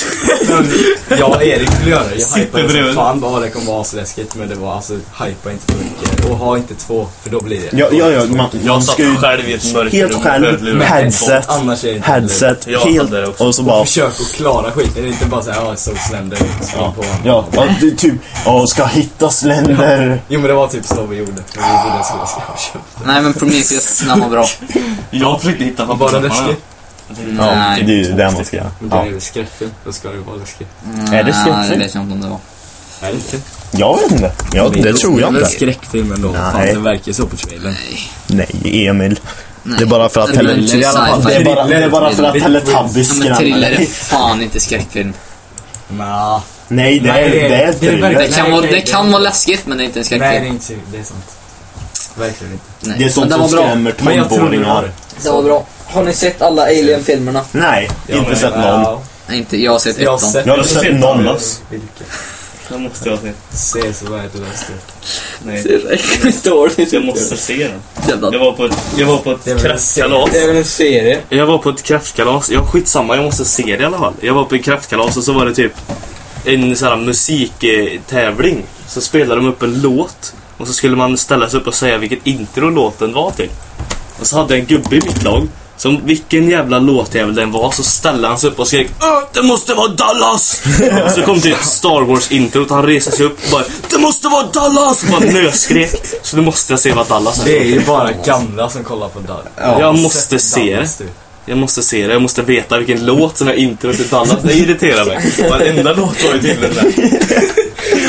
S1: Jag och Erik skulle göra det. Jag
S3: Sitter
S1: hypade som
S3: bredvid.
S1: fan bara det kommer vara asläskigt. Men det var alltså, hypa inte för mycket. Och ha inte två, för då blir det.
S4: Ja, ja, ja, man, man
S3: Jag
S4: ska
S3: satt
S4: ju
S3: själv i ett mörkt
S4: helt
S3: rum
S4: själv med headset,
S1: Annars är det inte
S4: headset,
S3: Jag
S4: helt
S3: hade det också.
S4: och så
S1: Och
S4: bara...
S1: försök att klara skiten. Det är inte bara såhär, ja, så sländer ja. på honom.
S4: Ja, ja det är typ, ja, ska hitta sländer.
S1: Jo men det var typ så vi gjorde. Men vi ville att jag skulle köpa.
S2: Nej men Prometheus, den var bra.
S3: Jag försökte hitta
S1: Var den läskig?
S4: Ja,
S2: Nej.
S4: det är ju det man ska göra.
S1: Men det är
S4: Ja.
S1: ju skräckfilm. Då ska det ju vara läskigt.
S4: Är det
S2: Nej, det
S4: skräckfilm?
S2: vet jag inte om det var.
S1: Är det inte?
S4: Jag vet inte. Ja, det tror jag
S1: Det är väl
S4: inte.
S1: skräckfilm ändå.
S4: Nej.
S1: Fan, det verkar ju så på trailern.
S4: Nej, Emil.
S2: Nej.
S4: Det är bara för att
S2: Thriller,
S4: Teletubbies... Det är bara- det är bara- det är bara för att
S1: Thriller.
S4: Teletubbies
S2: Ja, men thriller
S4: skrämmer.
S2: är fan inte skräckfilm.
S1: Nja.
S4: Nej, det är,
S1: Nej, det-
S4: det är
S1: det är
S4: thriller.
S2: Det kan,
S1: Nej,
S2: vara,
S1: nej,
S2: det kan
S1: nej.
S2: vara läskigt men det är inte en
S1: Nej, det
S2: skräckfilm.
S1: är inte Det är sant. Verkligen inte.
S2: Nej.
S4: Det är
S2: men
S4: sånt
S2: den
S4: som
S2: var bra.
S4: skrämmer
S1: Men jag tror det var
S4: tonåringar.
S1: det.
S2: Det var bra. Har ni sett alla Alien-filmerna?
S4: Nej, inte sett någon.
S2: Nej, inte. Jag har sett
S1: Jag har
S2: ettan.
S1: sett
S4: Jag har
S1: den.
S4: sett någon.
S1: Vilka?
S3: Den måste jag se.
S1: Ser så värdelöst ut.
S3: Nej.
S2: Det är riktigt dåligt.
S3: Jag måste se den.
S2: Jävla
S3: Jag var på ett, jag var på
S1: Det är
S3: ett
S1: väl en
S3: kräftkalas.
S1: serie.
S2: en serie.
S3: Jag var på ett kräftkalas. Jag skitsamma, jag måste se det i alla fall. Jag var på ett kräftkalas och så var det typ en sån här musiktävling. Så spelade de upp en låt och så skulle man ställa sig upp och säga vilket intro låten var till. Och så hade jag en gubbe i mitt lag som vilken jävla låtjävel den var så ställde han sig upp och skrek "Åh, Det måste vara Dallas! Och så kom typ Star Wars-introt han reste sig upp och bara Det måste vara Dallas! Och bara nöskrek. Så nu måste jag se vad Dallas
S1: Det
S3: är.
S1: är ju bara gamla som kollar på Dallas.
S3: Jag måste se det.
S1: typ.
S3: Jag måste se det, jag måste veta vilken låt som är intro till Dallas. Det irriterar mig. Varenda låt var ju till den där.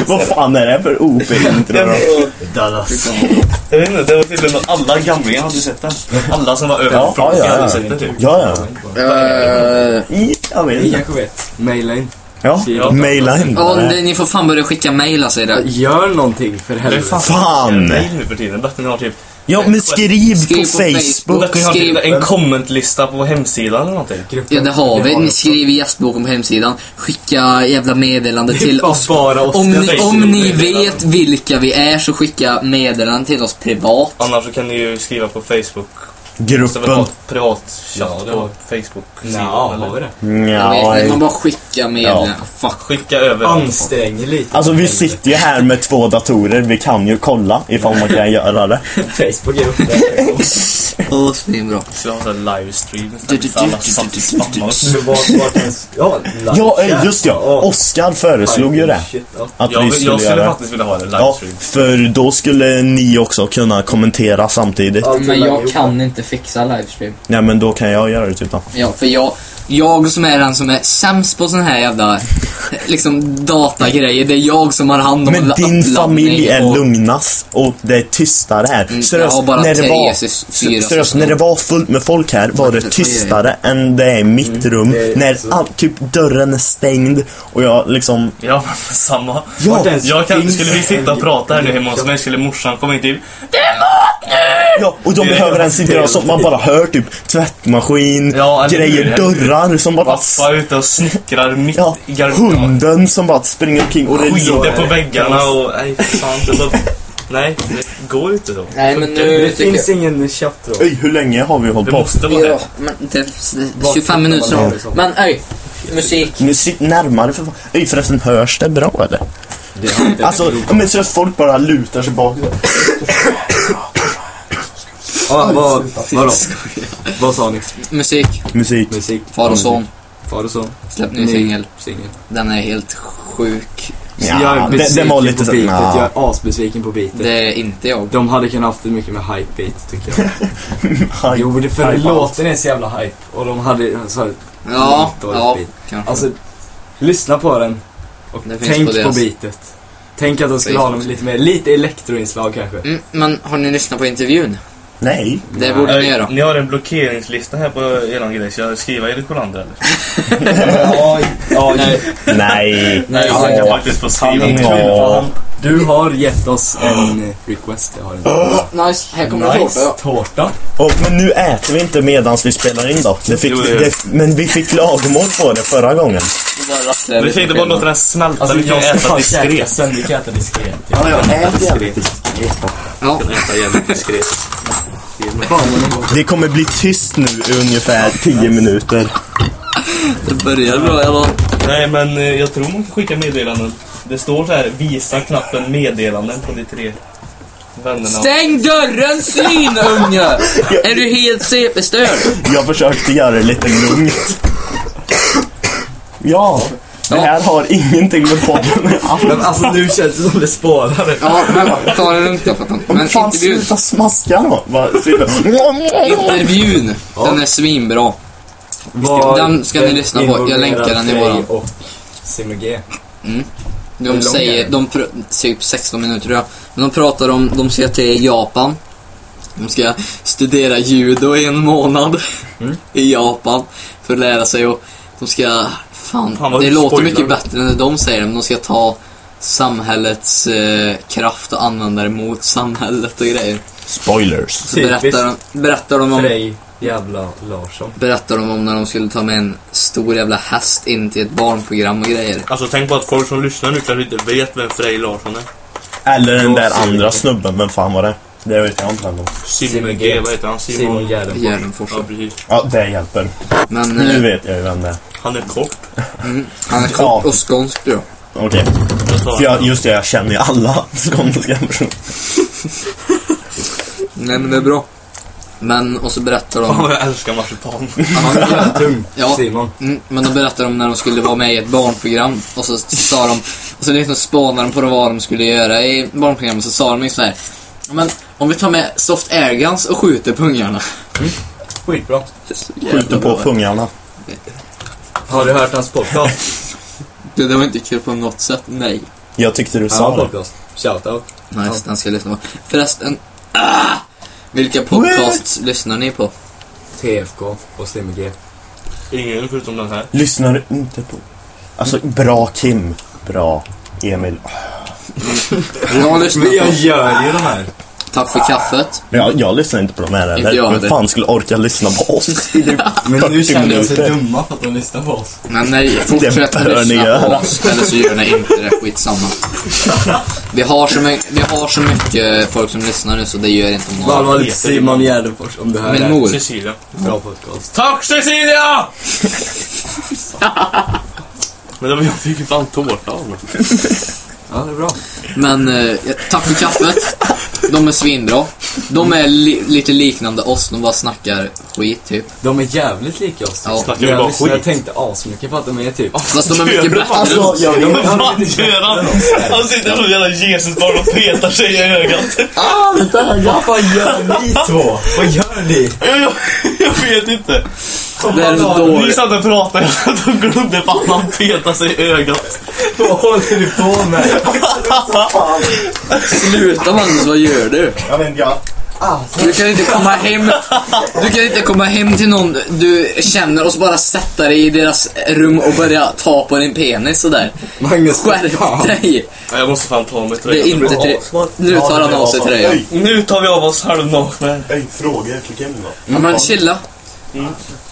S4: Vad fan är det för OP-intro då?
S1: Dallas.
S3: Jag vet inte, det var tydligen att alla gamlingar hade sett den. Alla som var över
S4: Ja,
S3: 40
S4: ja, ja,
S3: hade
S4: ja.
S3: sett den typ.
S4: Ja, ja. I- Jag vet
S1: Ni
S4: inte.
S1: kanske vet? Maila in.
S4: Ja,
S1: Ja.
S4: maila in.
S2: Ja, det- ni får fan börja skicka mail alltså. era-
S1: Gör någonting för
S3: Det är
S1: helvete.
S3: fan,
S4: Fan.
S3: Nej nu för tiden. Bättre än jag har typ.
S4: Ja, men skriv
S2: Skriv
S4: på
S2: på Facebook.
S4: Facebook.
S3: Bättre än jag har
S2: Skriv-
S3: typ en kommentlista på hemsidan eller någonting.
S2: Ja, det har vi. Ni
S1: också.
S2: skriver i gästboken på hemsidan. Skicka jävla meddelande till
S1: Fan,
S2: oss.
S1: Bara oss.
S2: Om
S1: Jag
S2: ni,
S1: säger
S2: om
S1: så.
S2: ni vet vilka vi är så skicka meddelanden till oss privat.
S3: Annars så kan ni ju skriva på Facebook. Så vi har
S4: Gruppen.
S3: ett privat
S1: Ja,
S3: chatt
S1: det
S3: på
S1: har-
S3: Facebook.
S1: Nja, har vi det?
S2: Jag vet
S4: Nja,
S2: inte, man bara skickar meddelanden. Fuck.
S3: Skicka över.
S1: Ansträng er lite.
S4: Alltså vi sitter ju här med två datorer, vi kan ju kolla ifall man kan göra det.
S1: Facebook är uppe där.
S2: Åh, svinbra.
S3: Så vi har en livestream istället för alla samtidigt spammar oss.
S1: Så var- var kan- Ja, live.
S4: Ja, eh, just ja.
S1: Ja.
S4: Oskar föreslog ju det.
S1: Shit, ja.
S4: Att
S3: Jag,
S4: vi
S3: vill- jag
S4: skulle
S3: skulle
S4: göra det.
S3: faktiskt vilja ha en
S4: Ja,
S3: livestream.
S4: för då skulle ni också kunna kommentera samtidigt.
S1: Allt
S2: Men
S1: rullar
S2: jag
S1: ihop.
S2: kan inte fixa livestream.
S4: Nej men då kan jag göra det typ då.
S2: Ja, för jag, jag som är den som är sämst på sån här jävla liksom datagrejer. Det är jag som har hand om
S4: Men
S2: alla
S4: din
S2: uppladdning
S4: familj är
S2: och-
S4: lugnast och det är tystare här.
S2: Mm, jag har bara tre Jesus, fyra Mm.
S4: seriöst,
S2: som-
S4: när det var fullt med folk här var det
S2: det är-
S4: tystare än det är i mitt rum.
S1: det är-
S4: När
S1: så-
S4: all, typ dörren är stängd och jag liksom...
S3: Ja, men samma.
S4: Ja,
S1: Martin,
S3: Jag kan, skulle vi sitta och prata här nu hemma hos
S1: Ja.
S3: mig skulle morsan komma in typ
S4: ja och de
S3: det är-
S4: behöver ens inte
S1: det är-
S4: göra sånt. Man bara hör typ tvättmaskin,
S3: Ja, eller
S4: grejer,
S3: hur?
S4: dörrar som bara...
S3: Pappa ute och snickrar mitt
S4: Ja,
S3: i garderoben.
S4: hunden som bara springer omkring och det är så-
S3: Skiter på väggarna och... Nej, fan. Det var, nej, det går inte då.
S2: Nej, men nu
S1: Det
S2: tycker jag...
S1: finns ingen chattråd.
S4: Öj, hur länge har vi hållit
S3: Det
S4: på?
S3: måste vara
S2: Ja,
S3: det.
S2: men det, 25 minuter snart. Men öj, musik.
S4: Nu sitt närmare för fan. Öj, förresten, hörs det bra eller?
S1: Det har inte-
S4: Alltså, ja, men seriöst, folk bara lutar sig bak.
S1: Ja, vad, vadå? Vad sa ni?
S2: Musik.
S4: Musik.
S1: Musik?
S2: Far och son.
S1: Far och son?
S2: Släpp ny
S1: Ny
S2: singel.
S1: singel.
S2: Den är helt sjuk.
S1: Så
S4: Ja,
S1: jag är
S4: det-
S1: besviken
S4: den var lite
S1: på
S4: så-
S1: beatet.
S4: nja.
S1: Jag är asbesviken på beatet.
S2: Det är inte jag.
S1: De hade kunnat haft det mycket mer hype beat tycker jag.
S4: Hype.
S1: Jo, det för
S4: Hype
S1: låten är så jävla hype. Och de hade så här,
S2: Ja,
S1: dåligt
S2: ja,
S1: beat.
S2: kanske.
S1: Alltså, lyssna på den. Och
S2: Det finns
S1: tänk
S2: på
S1: på,
S2: deras-
S1: beatet. Tänk att de skulle ha
S2: Facebook.
S1: dem lite mer, lite elektroinslag kanske.
S2: Mm, men har ni lyssnat på intervjun?
S4: Nej.
S2: Det borde ni göra.
S3: Äh, Ni har en blockeringslista här på eran grej, så jag skriver Erik Sjölander eller?
S1: Ja, ja,
S4: Nej.
S2: Nej,
S3: Han kan
S4: Ja.
S3: faktiskt få
S1: han
S3: skriva.
S1: är
S4: Ja.
S1: kul. Du har gett oss en eh, request. Jag har en.
S2: Nice, här kommer en
S1: Nice
S2: tårta.
S1: tårta.
S4: Och, men nu äter vi inte medans vi spelar in då. Det fick,
S3: Jo, det gör vi.
S4: det, men vi fick klagomål på det förra gången.
S2: Det bara rasslar
S3: Men Vi
S2: lite
S3: tänkte
S2: på
S3: bara
S2: skärmen.
S3: låta den smälta
S1: Alltså,
S3: lite och
S1: jag ska
S3: äta
S1: fan käka
S3: diskret.
S1: sen. Vi kan äta diskret.
S4: Ja, jag äter
S2: Ja,
S3: Äta jävligt diskret.
S1: Fan, vad den var-
S4: Det kommer bli tyst nu i ungefär 10 minuter.
S2: det börjar bra i alla fall.
S3: Nej, men eh, jag tror man kan skicka meddelanden. Det står så här, visa knappen meddelanden på de tre vännerna.
S2: Stäng dörren svinunge! Är du helt CP-störd?
S4: Jag försökte göra det lite lugnt. Ja, det här har ingenting med podden att göra.
S1: Men alltså nu känns det som det spårar.
S2: Ja, men ta det lugnt jag fattar. Men
S4: Men fan,
S2: intervjun.
S4: sluta smaska då. Bara sitta-
S2: Intervjun, den är svinbra. Den ska ni lyssna på. Jag länkar den i våran.
S1: Och Simon G. Hur
S2: De
S1: lång är
S2: säger,
S1: den?
S2: de pr- typ 16 minuter tror jag. Men de pratar om, de ska till Japan. De ska studera judo i en månad. I Japan. För att lära sig och de ska, fan,
S3: Fan, vad
S2: det
S3: du
S2: låter
S3: spoilar.
S2: mycket bättre än det de säger. Men de ska ta samhällets eh, kraft och använda det mot samhället och grejer.
S4: Spoilers.
S2: Så
S1: Typiskt.
S2: berättar de, berättar de om
S1: Frej jävla Larsson.
S2: berättar de om när de skulle ta med en stor jävla häst in till ett barnprogram och grejer.
S3: Alltså tänk på att folk som lyssnar nu kanske inte vet vem Frej Larsson är.
S4: Eller den där andra snubben, vem fan var det? Det vet jag inte heller.
S3: Simon G, vad heter han?
S1: Simon
S3: Simon...
S2: i
S1: Gärdenfors.
S2: Gärdenfors.
S3: Ja, precis.
S4: Ja, det hjälper.
S2: Men
S4: Nu
S2: eh,
S4: vet jag ju vem det är.
S3: Han är kort.
S2: han är
S4: Ja.
S2: kort och skånsk då.
S4: Okej.
S3: Jag sa
S4: För jag, just det, jag känner ju alla skånska personer.
S2: Nej men det är bra. Men, och så berättar
S3: Fan
S2: de...
S3: vad jag älskar marsipan.
S1: Jävla tung.
S2: Ja.
S1: Simon.
S2: Mm, men de berättar om när de skulle vara med i ett barnprogram och så sa de... Och så liksom spånade de på vad de skulle göra i barnprogrammet så sa de ju så här. Men om vi tar med soft airguns och skjuter pungarna.
S1: Skitbra.
S4: Skjuter på pungarna.
S1: Har du hört hans podcast?
S2: Det, det var inte kul på något sätt, nej.
S4: Jag tyckte du
S1: Han har
S4: sa det.
S1: podcast. Shoutout.
S2: Nej, den ska jag lyssna på. Förresten, ah! Vilka podcasts lyssnar ni på?
S1: TFK och Simon G.
S3: Ingen förutom den här.
S4: Lyssnar du inte på... Alltså, bra Kim. Bra Emil.
S2: Jag lyssnar
S1: Men jag
S2: på
S1: gör ju de här.
S2: Tack för kaffet.
S4: Jag, jag lyssnar inte på de här
S2: Inte jag
S4: heller. Vem
S2: heller.
S4: fan skulle orka lyssna på oss? i det-
S1: Men nu
S4: 40
S1: känner jag sig
S4: minuter.
S1: dumma för att de lyssnar på oss.
S2: Men nej, fortsätt
S4: Det
S2: att
S4: bör ni
S2: lyssna på
S4: göra.
S2: oss, eller så gör ni inte det, skitsamma. Vi har så, my- vi har så mycket folk som lyssnar nu så det gör inte om några.
S1: Varma lite Simon Gärdenfors om det här
S2: Min
S1: är
S2: mor.
S3: Cecilia.
S1: bra podcast.
S3: Tack Cecilia! Men det var- jag fick ju fan tårta av mig.
S1: Ja, det är bra.
S2: Men eh, tack för kaffet. De är svinbra. De är li- lite liknande oss, de bara snackar skit typ.
S1: De är jävligt lika oss.
S2: Ja.
S3: Snackar
S1: Men
S3: vi
S1: jag,
S3: bara
S1: lyssnade, jag
S3: skit?
S1: tänkte asmycket på att de är typ...
S2: Fast de är mycket bättre.
S4: Alltså, jag
S3: Ja,
S4: vet
S3: men fan Göran! Han sitter som ett jävla Jesusbarn och petar sig i ögat.
S1: Vad fan gör ni två? Vad gör ni?
S3: Jag, jag, jag vet inte.
S2: Det är dåligt.
S3: Vi satt och pratade och glömde fan att han petade sig i ögat.
S1: Vad håller ni på med?
S2: Sluta Magnus, vad gör du?
S4: Jag vet inte, jag...
S2: Du kan inte komma hem Du kan inte komma hem till någon du känner och så bara sätta dig i deras rum och börja ta på din penis sådär.
S1: Magnus,
S2: Skärp dig!
S3: Ja, Jag måste fan ta mig
S2: Det är
S3: tröjan.
S2: inte tre... Nu tar han av sig tröjan.
S3: Nu tar vi av oss halvnakna.
S4: Ey, frågor till Kim då.
S2: Ja, men chilla.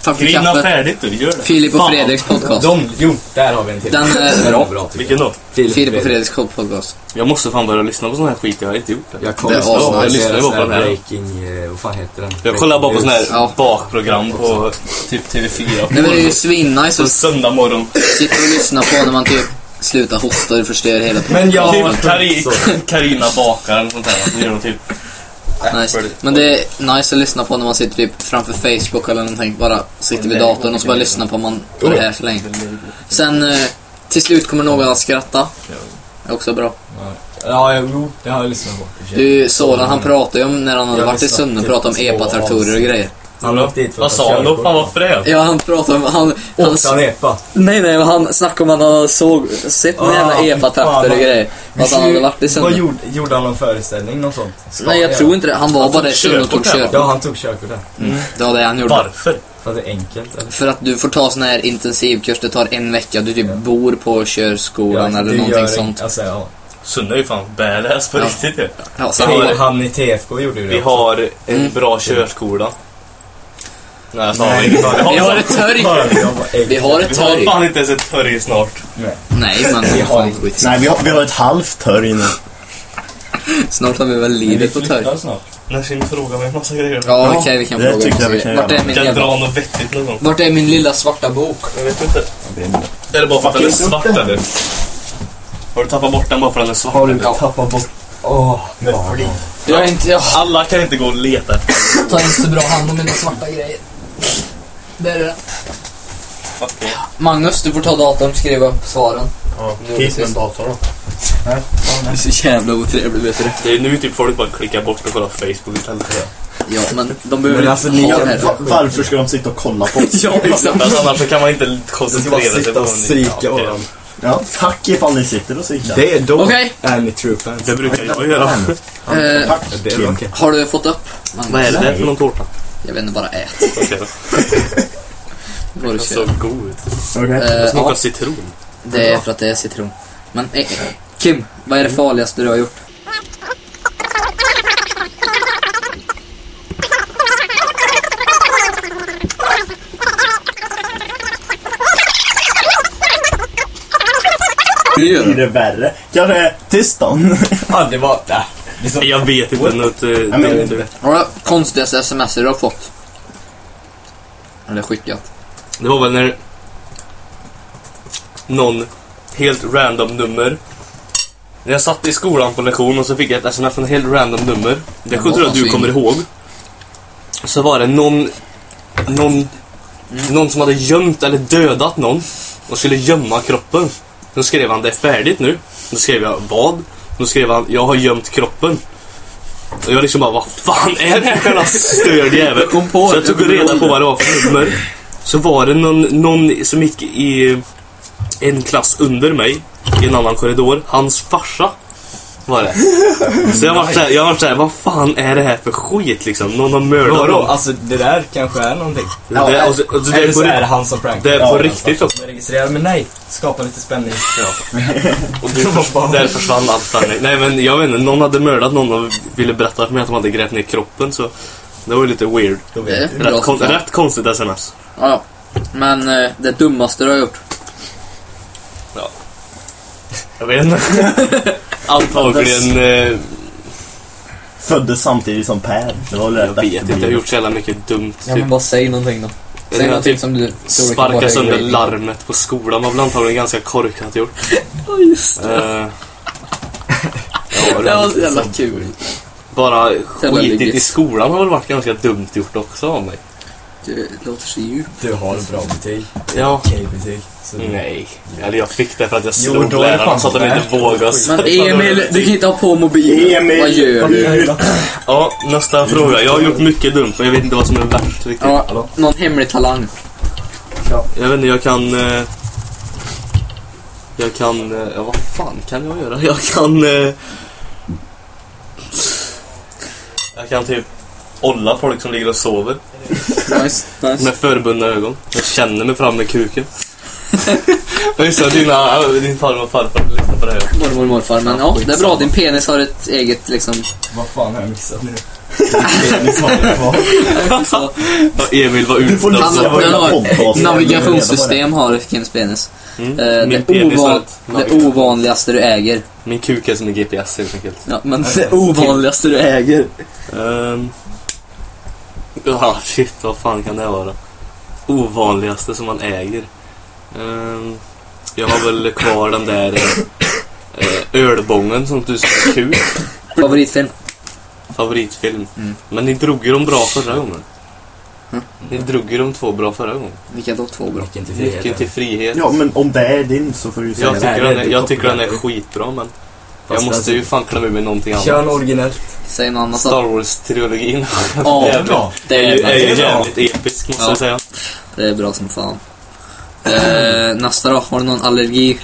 S2: Tack för
S3: Grina
S2: kaffet.
S3: färdigt du, gör det.
S2: Filip och Fredriks podcast.
S1: De, jo, där har vi en till.
S2: Den är bra.
S1: bra tycker
S3: Vilken då?
S1: jag.
S2: Filip och Fredriks podcast.
S3: Jag måste fan börja lyssna på sån här skit, jag har inte gjort det.
S1: Jag kommer
S2: Det är
S1: snart
S2: asnice.
S1: att
S3: Jag lyssnar
S1: göra
S3: ju
S1: sån
S3: bara på
S1: här
S3: den här.
S1: breaking... eh, Vad fan heter den?
S3: Jag kollar bara på sån här
S2: Ja.
S3: bakprogram på typ TV4.
S2: Nej men det är ju
S3: på-
S2: svinnice
S3: På
S2: att
S3: söndag morgon.
S2: sitta och lyssna på när man typ slutar hosta och förstör hela...
S1: Men jag har...
S3: Typ Kari- Karina bakar eller sånt där. Så gör de typ...
S2: Nice. Men det är nice att lyssna på när man sitter typ framför Facebook eller någonting. Bara sitter vid datorn och så bara lyssnar på man på det här så länge. Sen eh, Till slut kommer någon att skratta.
S1: Ja.
S2: Det är också bra.
S1: Ja, jo, det har jag lyssnat på.
S2: Du, Soran han pratade ju om när han hade
S1: Jag
S2: varit i
S1: lyssnade
S2: Sunne
S1: till
S2: pratade om
S1: två
S2: epatraktorer och grejer.
S1: Han åkte dit för
S5: Vad
S1: att
S5: sa
S1: ta
S5: han då?
S1: körkort.
S5: Fan vad fränt.
S2: Ja, han pratade om... Han, han,
S1: Åkte han epa?
S2: nej, nej, han snackade om att han hade såg, sett några
S1: Ah, fy
S2: jävla
S1: fan,
S2: epatraktor och
S1: vad-
S2: grejer. Att han hade varit i
S1: Vad
S2: Sunne.
S1: gjorde, gjorde han någon föreställning? Något sånt? Ska
S2: Nej,
S1: han
S2: jag
S1: göra?
S2: tror inte det. Han var bara i
S5: tog
S2: Sunne och tog
S5: körkort där, va?
S2: körkort.
S1: Ja, han tog körkort där.
S2: Det var det han gjorde.
S5: Varför?
S1: För att det är enkelt, eller?
S2: För att du får ta sån här intensivkurs, det tar en vecka. Du typ bor på körskolan
S1: Ja,
S2: eller
S1: du
S2: någonting
S1: gör-
S2: sånt.
S1: Alltså, ja.
S5: Sunne är ju fan badass på
S2: Ja.
S5: riktigt ju.
S2: Ja, så han,
S1: han, han i TFK gjorde ju det.
S3: Vi har en
S2: Mm.
S3: bra körskola. Nej, jag sa
S1: Nej,
S3: inget.
S1: vi har-
S2: vi har ett
S1: Vi
S2: torg!
S1: har- vi har bara ägg.
S2: Vi har ett
S3: Vi har
S2: torg.
S3: fan inte ens ett torg snart.
S1: Nej.
S2: Nej, men
S1: Vi
S2: det är
S1: har-
S2: fan skit.
S4: Nej, vi har, vi har ett halvt hörn inne.
S2: Snart har vi väl livet på torg.
S1: snart.
S3: När ska ni fråga mig en massa grejer?
S2: Ja, okej, vi kan
S4: det
S2: fråga
S4: tycker jag vi
S2: oss.
S4: kan
S2: Vart
S4: göra.
S2: är min
S3: Kan
S2: jävla...
S3: dra något vettigt någon gång?
S2: Vart är min lilla svarta bok?
S3: Jag vet inte. Är det bara för att den är svart eller? Har du tappat bort den bara för att den är svart?
S1: Har du
S2: Ja.
S1: tappat bort... Åh, med flit.
S2: Jag är inte... Jag
S3: Alla kan inte gå och leta efter
S2: tar inte så bra hand om mina svarta grejer. Där är den.
S3: Okej.
S2: Magnus, du får ta datorn och skriva upp svaren.
S4: Ja,
S2: Nu är det sist.
S4: dator då.
S2: Du är så jävla otrevlig, vet du det?
S3: Det är nu typ folk bara klickar bort och kollar Facebook istället.
S2: Ja, men de behöver
S1: Men alltså,
S2: inte
S1: ni
S2: ha
S1: kan-
S2: det här.
S4: Va- Varför ska de sitta och kolla på oss?
S2: Ja, exakt.
S3: För att annars så kan man inte
S1: Du ska bara
S3: koncentrera sig
S1: sitta
S3: på
S1: och psyka
S3: Ja, okej.
S1: varandra.
S4: Ja, tack ifall ni sitter och sikar.
S1: Det är då
S2: Okej.
S1: är ni true fans.
S3: Det brukar jag göra.
S2: Eh,
S4: Tack,
S1: Det är
S4: Kim.
S1: okej.
S2: har du fått upp? Magnus?
S3: Vad är det där för någon tårta?
S2: Jag vet inte, bara ät.
S3: Okej.
S2: Går
S3: Den
S2: och
S3: såg
S2: kör.
S3: god ut.
S4: Okej.
S2: Eh,
S3: Den smakar
S2: ja,
S3: citron.
S2: det är för att det är citron. Men eh, Kim, vad är det farligaste du har gjort? Det gör
S4: Blir
S2: du.
S4: det värre? Kanske tillstånd?
S1: Ja, det var... Äh. Det är så-
S3: Jag vet inte något... eh,
S4: men-
S3: det- det-
S2: Har du konstigaste sms du har fått? Eller skickat?
S3: Det var väl när någon helt random nummer. När jag satt i skolan på lektion och så fick jag ett sms från ett helt random nummer. Det
S2: Ja,
S3: tror jag att du
S2: alltså,
S3: kommer
S2: in-
S3: ihåg. Så var det någon, någon, någon som hade gömt eller dödat någon och skulle gömma kroppen. Då skrev han det är färdigt nu. Då skrev jag vad? Då skrev han jag har gömt kroppen. Och jag liksom bara vad fan är det här för jävla störd jävel?
S2: kom på
S3: Så jag
S2: det,
S3: tog
S2: jag kommer
S3: reda
S2: ihåg
S3: på
S2: det.
S3: vad det var för nummer. Så var det någon, någon som gick i en klass under mig i en annan korridor. Hans farsa var det. Så jag var såhär, jag var såhär, vad fan är det här för skit liksom? Någon har mördat
S1: Vadå?
S3: någon.
S1: Alltså, det där kanske är någonting.
S3: Ja, det- och så- och så- det är
S1: Eller så
S3: på
S1: är
S3: ri-
S1: det han som prankar.
S3: Det är på
S4: Ja,
S3: riktigt alltså. också.
S1: Jag registrerar, men nej. Skapa lite spänning.
S3: Och du, där försvann allt spänning. Nej men jag vet inte, någon hade mördat någon och ville berätta för mig att de hade grävt ner kroppen så det var ju lite weird.
S1: Då
S2: Det
S1: vet
S2: är
S1: du.
S2: bra
S3: Rätt, kon-
S2: som fan.
S3: rätt konstigt sms.
S2: Ja, ja. Men eh, det dummaste du har gjort?
S3: Jag vet inte. Antagligen, eh,
S4: Föddes samtidigt som Per. Det var lätt
S3: jag vet inte, jag har gjort så jävla mycket dumt. Typ,
S2: bara säg någonting då.
S3: Säg Jag någonting typ
S2: som du
S3: sparka sönder larmet på skolan var väl antagligen ganska korkat gjort.
S2: Ja, just det.
S3: Eh, ja,
S2: Det var så jävla
S3: liksom.
S2: kul.
S3: Bara
S2: Jävla
S3: skitigt i
S2: lyckligt.
S3: skolan har väl varit ganska dumt gjort också av mig.
S2: Det låter så djupt.
S1: Du har bra betyg.
S3: Ja.
S1: Okej betyg. Så
S3: Mm. Nej. Eller jag fick det för att jag
S1: Jo,
S3: slog
S1: då är det
S3: lärarna
S1: fan
S3: så att de inte
S1: värt
S3: vågade.
S2: Men
S3: sätta
S2: Emil,
S3: några
S2: du kan inte ha på mobilen.
S4: Emil!
S2: Vad gör du?
S3: Ja, nästa fråga. Jag har gjort mycket dumt men jag vet inte vad som är värst riktigt.
S2: Ja, någon hemlig talang.
S3: Jag vet inte, jag kan... eh, Jag kan... eh, Ja, vad fan kan jag göra? Jag kan... eh, Jag kan typ olla folk som ligger och sover
S2: Nice, nice.
S3: med förbundna ögon. Jag känner mig fram med kuken. Jag gissar att dina, äh, din farmor och farfar lyssnar på det här.
S2: Mormor och morfar. Men ja, det är bra. Din penis har ett eget liksom...
S1: Vad fan har jag missat nu?
S2: så-
S3: Ja, Emil var
S4: Du får
S3: utstött.
S4: lyssna på
S2: Han-
S4: hela
S2: han-
S4: podcasten.
S2: Navigationssystem har Kims penis.
S3: Mm.
S2: Eh,
S3: Min
S2: det,
S3: penis har
S2: ovan,
S3: ett
S2: det
S3: navigation.
S2: ovanligaste du äger.
S3: Min kuk är som en GPS helt enkelt.
S2: Ja, men det ovanligaste du äger.
S3: Ehm. Ja, shit, vad fan kan det vara? Ovanligaste som man äger. Ehm, jag har väl kvar den där eh, ölbången som du sa är kul.
S2: Favoritfilm.
S3: Favoritfilm.
S2: Mm.
S3: Men ni drog ju dem bra förra gången.
S1: Hm?
S3: Ni drog ju de två bra förra gången.
S2: Vilka då två bra?
S1: Nyckeln till
S3: Nyckeln
S1: friheten.
S3: till frihet.
S4: Ja, men om det är din så får du säga
S3: Jag
S1: det
S4: det.
S1: här
S3: tycker, den
S1: är
S3: är,
S1: det
S3: jag tycker den är
S1: populärt.
S3: skitbra men jag
S1: Fast
S3: måste ju
S1: alltså-
S3: fan klämma ur mig någonting
S1: Kör en
S3: annat.
S1: originell.
S2: Säg något annat
S3: Star
S2: då.
S3: Wars-trilogin
S2: Ja,
S3: är bra.
S2: det
S3: är ju är ju
S2: är bra.
S3: jävligt episk måste
S2: Ja.
S3: jag säga.
S2: Det är bra som fan. Eh, nästa då, har du någon allergi?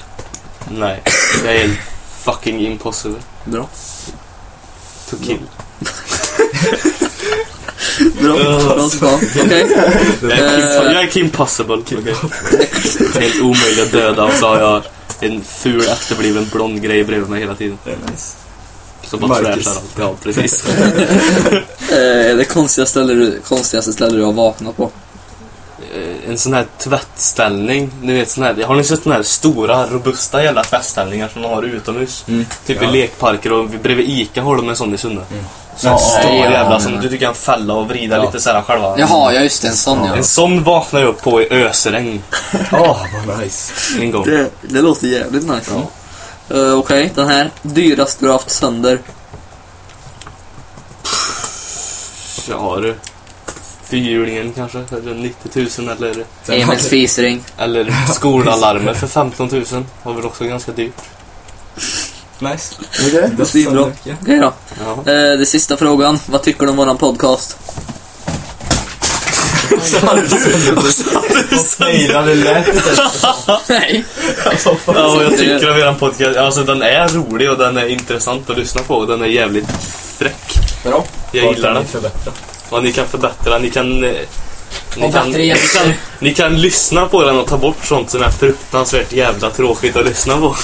S3: Nej, det är helt fucking impossible
S2: Bra.
S3: to kill.
S2: Bra, bra som fan. Okej.
S3: Jag är
S2: Eh.
S3: Kim- jag är Kim Possible. okej. Det är Helt omöjlig att döda och så har jag en ful efterbliven blond grej bredvid mig hela tiden.
S1: Det är nice.
S3: Som bara
S1: Marcus.
S3: trashar allt. Ja, precis.
S2: Eh, det konstiga ställe du, konstigaste stället du har vaknat på?
S3: Eh, en sån här tvättställning. Ni vet, sån här, har ni sett såna här stora, robusta jävla tvättställningar som de har utomhus?
S1: Mm.
S3: Typ
S1: Ja.
S3: i lekparker och bredvid ICA har de en sån i Sunne. Mm.
S4: Ja,
S3: Stor
S2: ja,
S3: jävla
S2: ja,
S3: som
S2: ja.
S3: du, du kan fälla och vrida
S1: Ja.
S3: lite så här själva.
S2: Jaha, ja just det, en sån ja.
S3: En sån vaknade jag upp på i ösregn
S1: Åh, vad nice.
S3: en gång.
S2: Det, det låter jävligt nice. Ja. Eh, Okej, den här. Dyrast du har haft sönder?
S3: Ja du. Fyrhjulingen kanske, eller 90 000 eller,
S1: Sen har
S2: Emils
S1: vi-
S2: fisring.
S3: eller skolalarmer för 15 000. Var väl också ganska dyrt.
S1: Nice.
S4: Okej.
S1: Det är
S2: Svinbra.
S1: svinbra. Ja.
S2: Okej då.
S3: Ja.
S2: Eh, det sista frågan. Vad tycker du om våran podcast?
S1: Och fejrade lätt.
S2: Nej.
S3: Ja, och jag tycker att eran podcast, alltså den är rolig och den är intressant att lyssna på och den är jävligt fräck.
S1: Bra.
S3: Jag
S1: Vad
S3: gillar
S1: kan
S3: den.
S1: vi förbättra?
S3: Och ni kan förbättra, ni kan... eh, Ni
S2: Och
S3: kan,
S2: bättre
S3: ni,
S2: gäster.
S3: kan, ni kan lyssna på den och ta bort sånt som är fruktansvärt jävla tråkigt att lyssna på.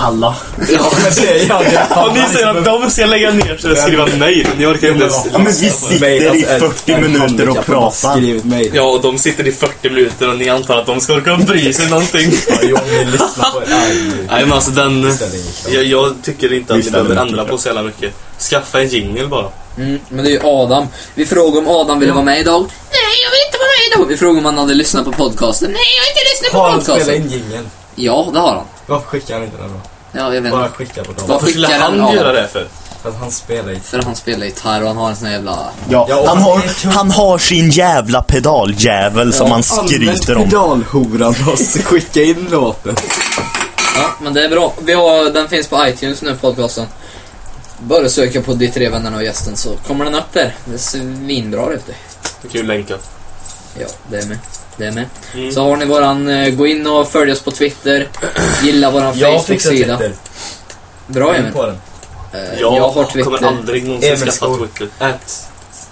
S4: Alla.
S1: Ja, men det är jag. Det är
S3: Och ni säger att de ska lägga ner sig och skriva nej. Ni orkar inte ens...
S4: Ja, men vi
S1: alltså,
S4: sitter i 40 minuter och pratar.
S1: Skrivit mig.
S3: Ja, och de sitter i 40 minuter och ni antar att de ska orka bry sig någonting.
S1: Ja, Jag vill lyssna på det. Aj,
S3: Nej, men alltså den...
S1: ställer inget krav.
S3: Jag, jag tycker inte att ni
S4: Lyssna
S3: behöver
S4: lite.
S3: ändra på så jävla mycket. Skaffa en jingle bara.
S2: Mm, men det är ju Adam. Vi frågade om Adam ville vara med idag. Nej, jag vill inte vara med idag. Vi frågade om han hade lyssnat på podcasten. Nej, jag har inte lyssnat
S1: Har
S2: på
S1: han spelat
S2: podcasten.
S1: in jingeln?
S2: Ja, det har han.
S1: Varför skickar han inte den då?
S2: Ja, jag vet
S1: Bara
S2: inte.
S1: skicka på dem.
S2: Varför
S3: Varför skulle
S2: skickar
S3: han
S2: han
S3: göra
S2: av?
S3: det för?
S1: För att han spelar i...
S2: För han spelar gitarr och han har en sån här jävla...
S1: Ja,
S4: Ja,
S1: och
S4: han,
S1: han
S4: har,
S1: är kung.
S4: han har sin jävla pedaljävel som han skryter om.
S1: pedalhoran oss. Skicka in låten.
S2: Ja, men det är bra. Vi har, den finns på iTunes nu, podcasten. Bara söka på De tre vännerna och gästen så kommer den upp där. Det är svinbra ute.
S3: Du kan ju länka.
S2: Ja, det är med. Det är med.
S3: Mm.
S2: Så har ni våran, eh, gå in och följ oss på Twitter. Gilla våran
S1: Jag fixar
S2: Facebook-sida.
S1: Twitter.
S2: Bra Emil.
S1: In på den.
S2: Eh,
S3: Jag,
S2: jag har
S3: kommer
S2: Twitter.
S3: aldrig någonsin
S1: Emil
S3: skaffa
S1: Skog.
S3: Twitter.
S1: At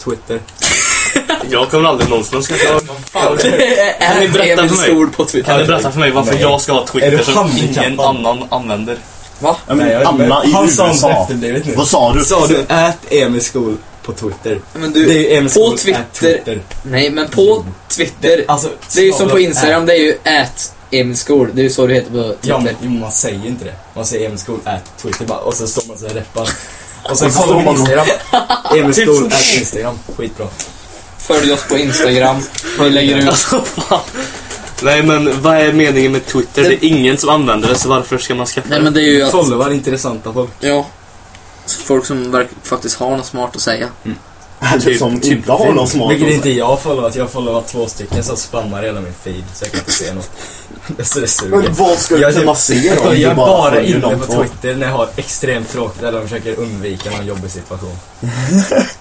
S1: Twitter.
S3: Jag kommer aldrig någonsin skaffa Twitter. Kan ni
S2: Ät
S3: berätta
S2: Emil
S3: för mig?
S2: Stord på Twitter.
S3: Kan du berätta för mig varför
S1: Nej.
S3: jag ska ha
S1: Är du
S3: Twitter som ingen
S1: handikappad?
S3: annan använder?
S2: Va?
S4: Ja, men alla i
S1: Han sa något
S4: USA.
S1: efterblivet nu.
S4: Vad sa du?
S1: Sa du ät Emil Skog på Twitter?
S2: Men
S1: Det
S2: du,
S1: är ju Emil Skog
S2: på
S1: at Mm.
S2: Twitter. Nej, men på Twitter.
S1: Alltså,
S2: Det är ju som på
S1: snabel-a-
S2: Instagram, det är ju ät Emil Stord. Det är ju så du heter på
S1: Ja, men
S2: Twitter.
S1: jo, man säger ju inte det. Man säger Emil Skog at Twitter bara, och så står man så här reppar. Och
S4: Och
S1: sen
S4: så
S1: kollar man
S4: står
S1: Instagram. Emil Skog at Instagram. Skitbra.
S2: Följ oss på Instagram. Vi lägger ut.
S3: Alltså, fan. Nej men vad är meningen med Twitter? Det är ingen som använder det så varför ska man skaffa
S2: Nej,
S3: det?
S2: men det är ju att...
S1: Followar intressanta folk.
S2: Ja. Så Folk som verk, faktiskt har något smart att säga.
S4: Eller
S1: Typ-
S4: som inte har någon smak.
S1: Vilket inte jag followat. Jag followar två stycken som spammar hela min feed så jag kan inte se något. Så det suger.
S4: Men vad ska
S1: Jag
S4: du
S1: är
S4: kunna
S1: typ-
S4: se då?
S1: Jag
S4: Du
S1: är bara
S4: följer
S1: inne
S4: de två.
S1: på Twitter när jag har extremt tråkigt eller försöker undvika någon jobbig situation.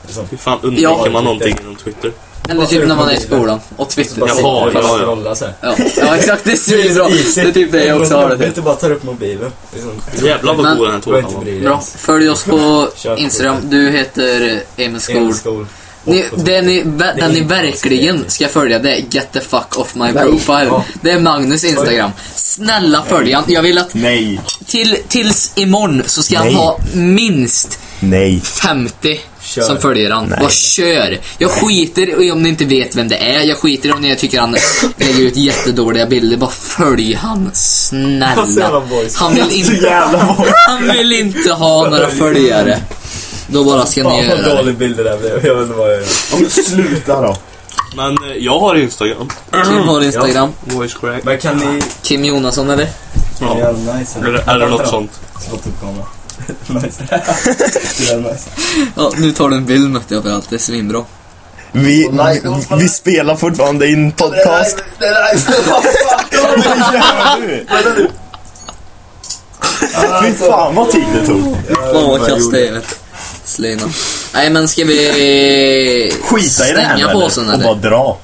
S1: Så.
S3: Hur fan undviker
S2: Ja.
S3: man någonting genom Twitter?
S2: Eller typ när man är i skolan. Och Twitter.
S1: Bara
S3: Jaha,
S1: sitter och
S3: ja, ja.
S1: scrollar så här.
S2: Ja, ja exakt. Det är svinbra. Det är typ det jag också har det till.
S1: Inte bara tar upp mobilen. Liksom.
S3: Jävlar
S2: Men-
S3: vad god den
S1: Behöver
S3: här tårtan
S1: inte
S3: var.
S1: bry dig.
S2: Bra. Följ oss på
S1: Kör på
S2: Instagram. Du heter Emil
S1: Emil
S2: Skog.
S1: Skog.
S2: Ni, det ni, ve-
S1: Det
S2: den
S1: är
S2: ni
S1: inte
S2: verkligen
S1: konstigt.
S2: ska följa det är Get the fuck off my
S4: Nej.
S2: profile.
S1: Ja.
S2: Det är Magnus Instagram. Snälla följ han. Jag vill att
S4: Nej,
S2: till, tills imorgon så ska han
S4: Nej.
S2: ha minst
S4: nej.
S2: 50
S1: Kör.
S2: som följer han.
S4: Nej.
S2: Bara kör! Jag skiter i om ni inte vet vem det är. Jag skiter i om ni tycker han lägger ut jättedåliga bilder. Bara följ han.
S1: Alltså, jävla
S2: Snälla.
S1: boys.
S2: Han vill
S4: Så
S2: inte,
S4: jävla många.
S2: han vill inte ha några följare. Då bara ska ni
S1: Fan
S2: göra
S1: vad
S2: det.
S1: dålig bild det där blev. Jag vet inte vad jag gör.
S4: Ja, men Sluta då.
S3: Men eh, jag har Instagram.
S2: Kim har Instagram.
S3: Voice crack.
S1: Men kan ni...
S2: Kim Jonasson eller?
S1: Ja.
S3: Ja.
S1: nice.
S3: Eller, eller något sånt.
S1: Slå upp kameran. nice. Det är nice.
S2: Ja, nu tar du en bild mötte jag för allt. Det är svinbra.
S4: Vi, vi spelar fortfarande in podcast.
S6: Det är live!
S4: Vad gör du? Fy fan vad tid det tog.
S2: Fan vad kass det är vet du. Slöjorna. Nej men ska vi
S4: Skita i det här
S2: stänga
S4: nu, eller?
S2: påsen
S4: och bara
S2: eller?
S4: dra.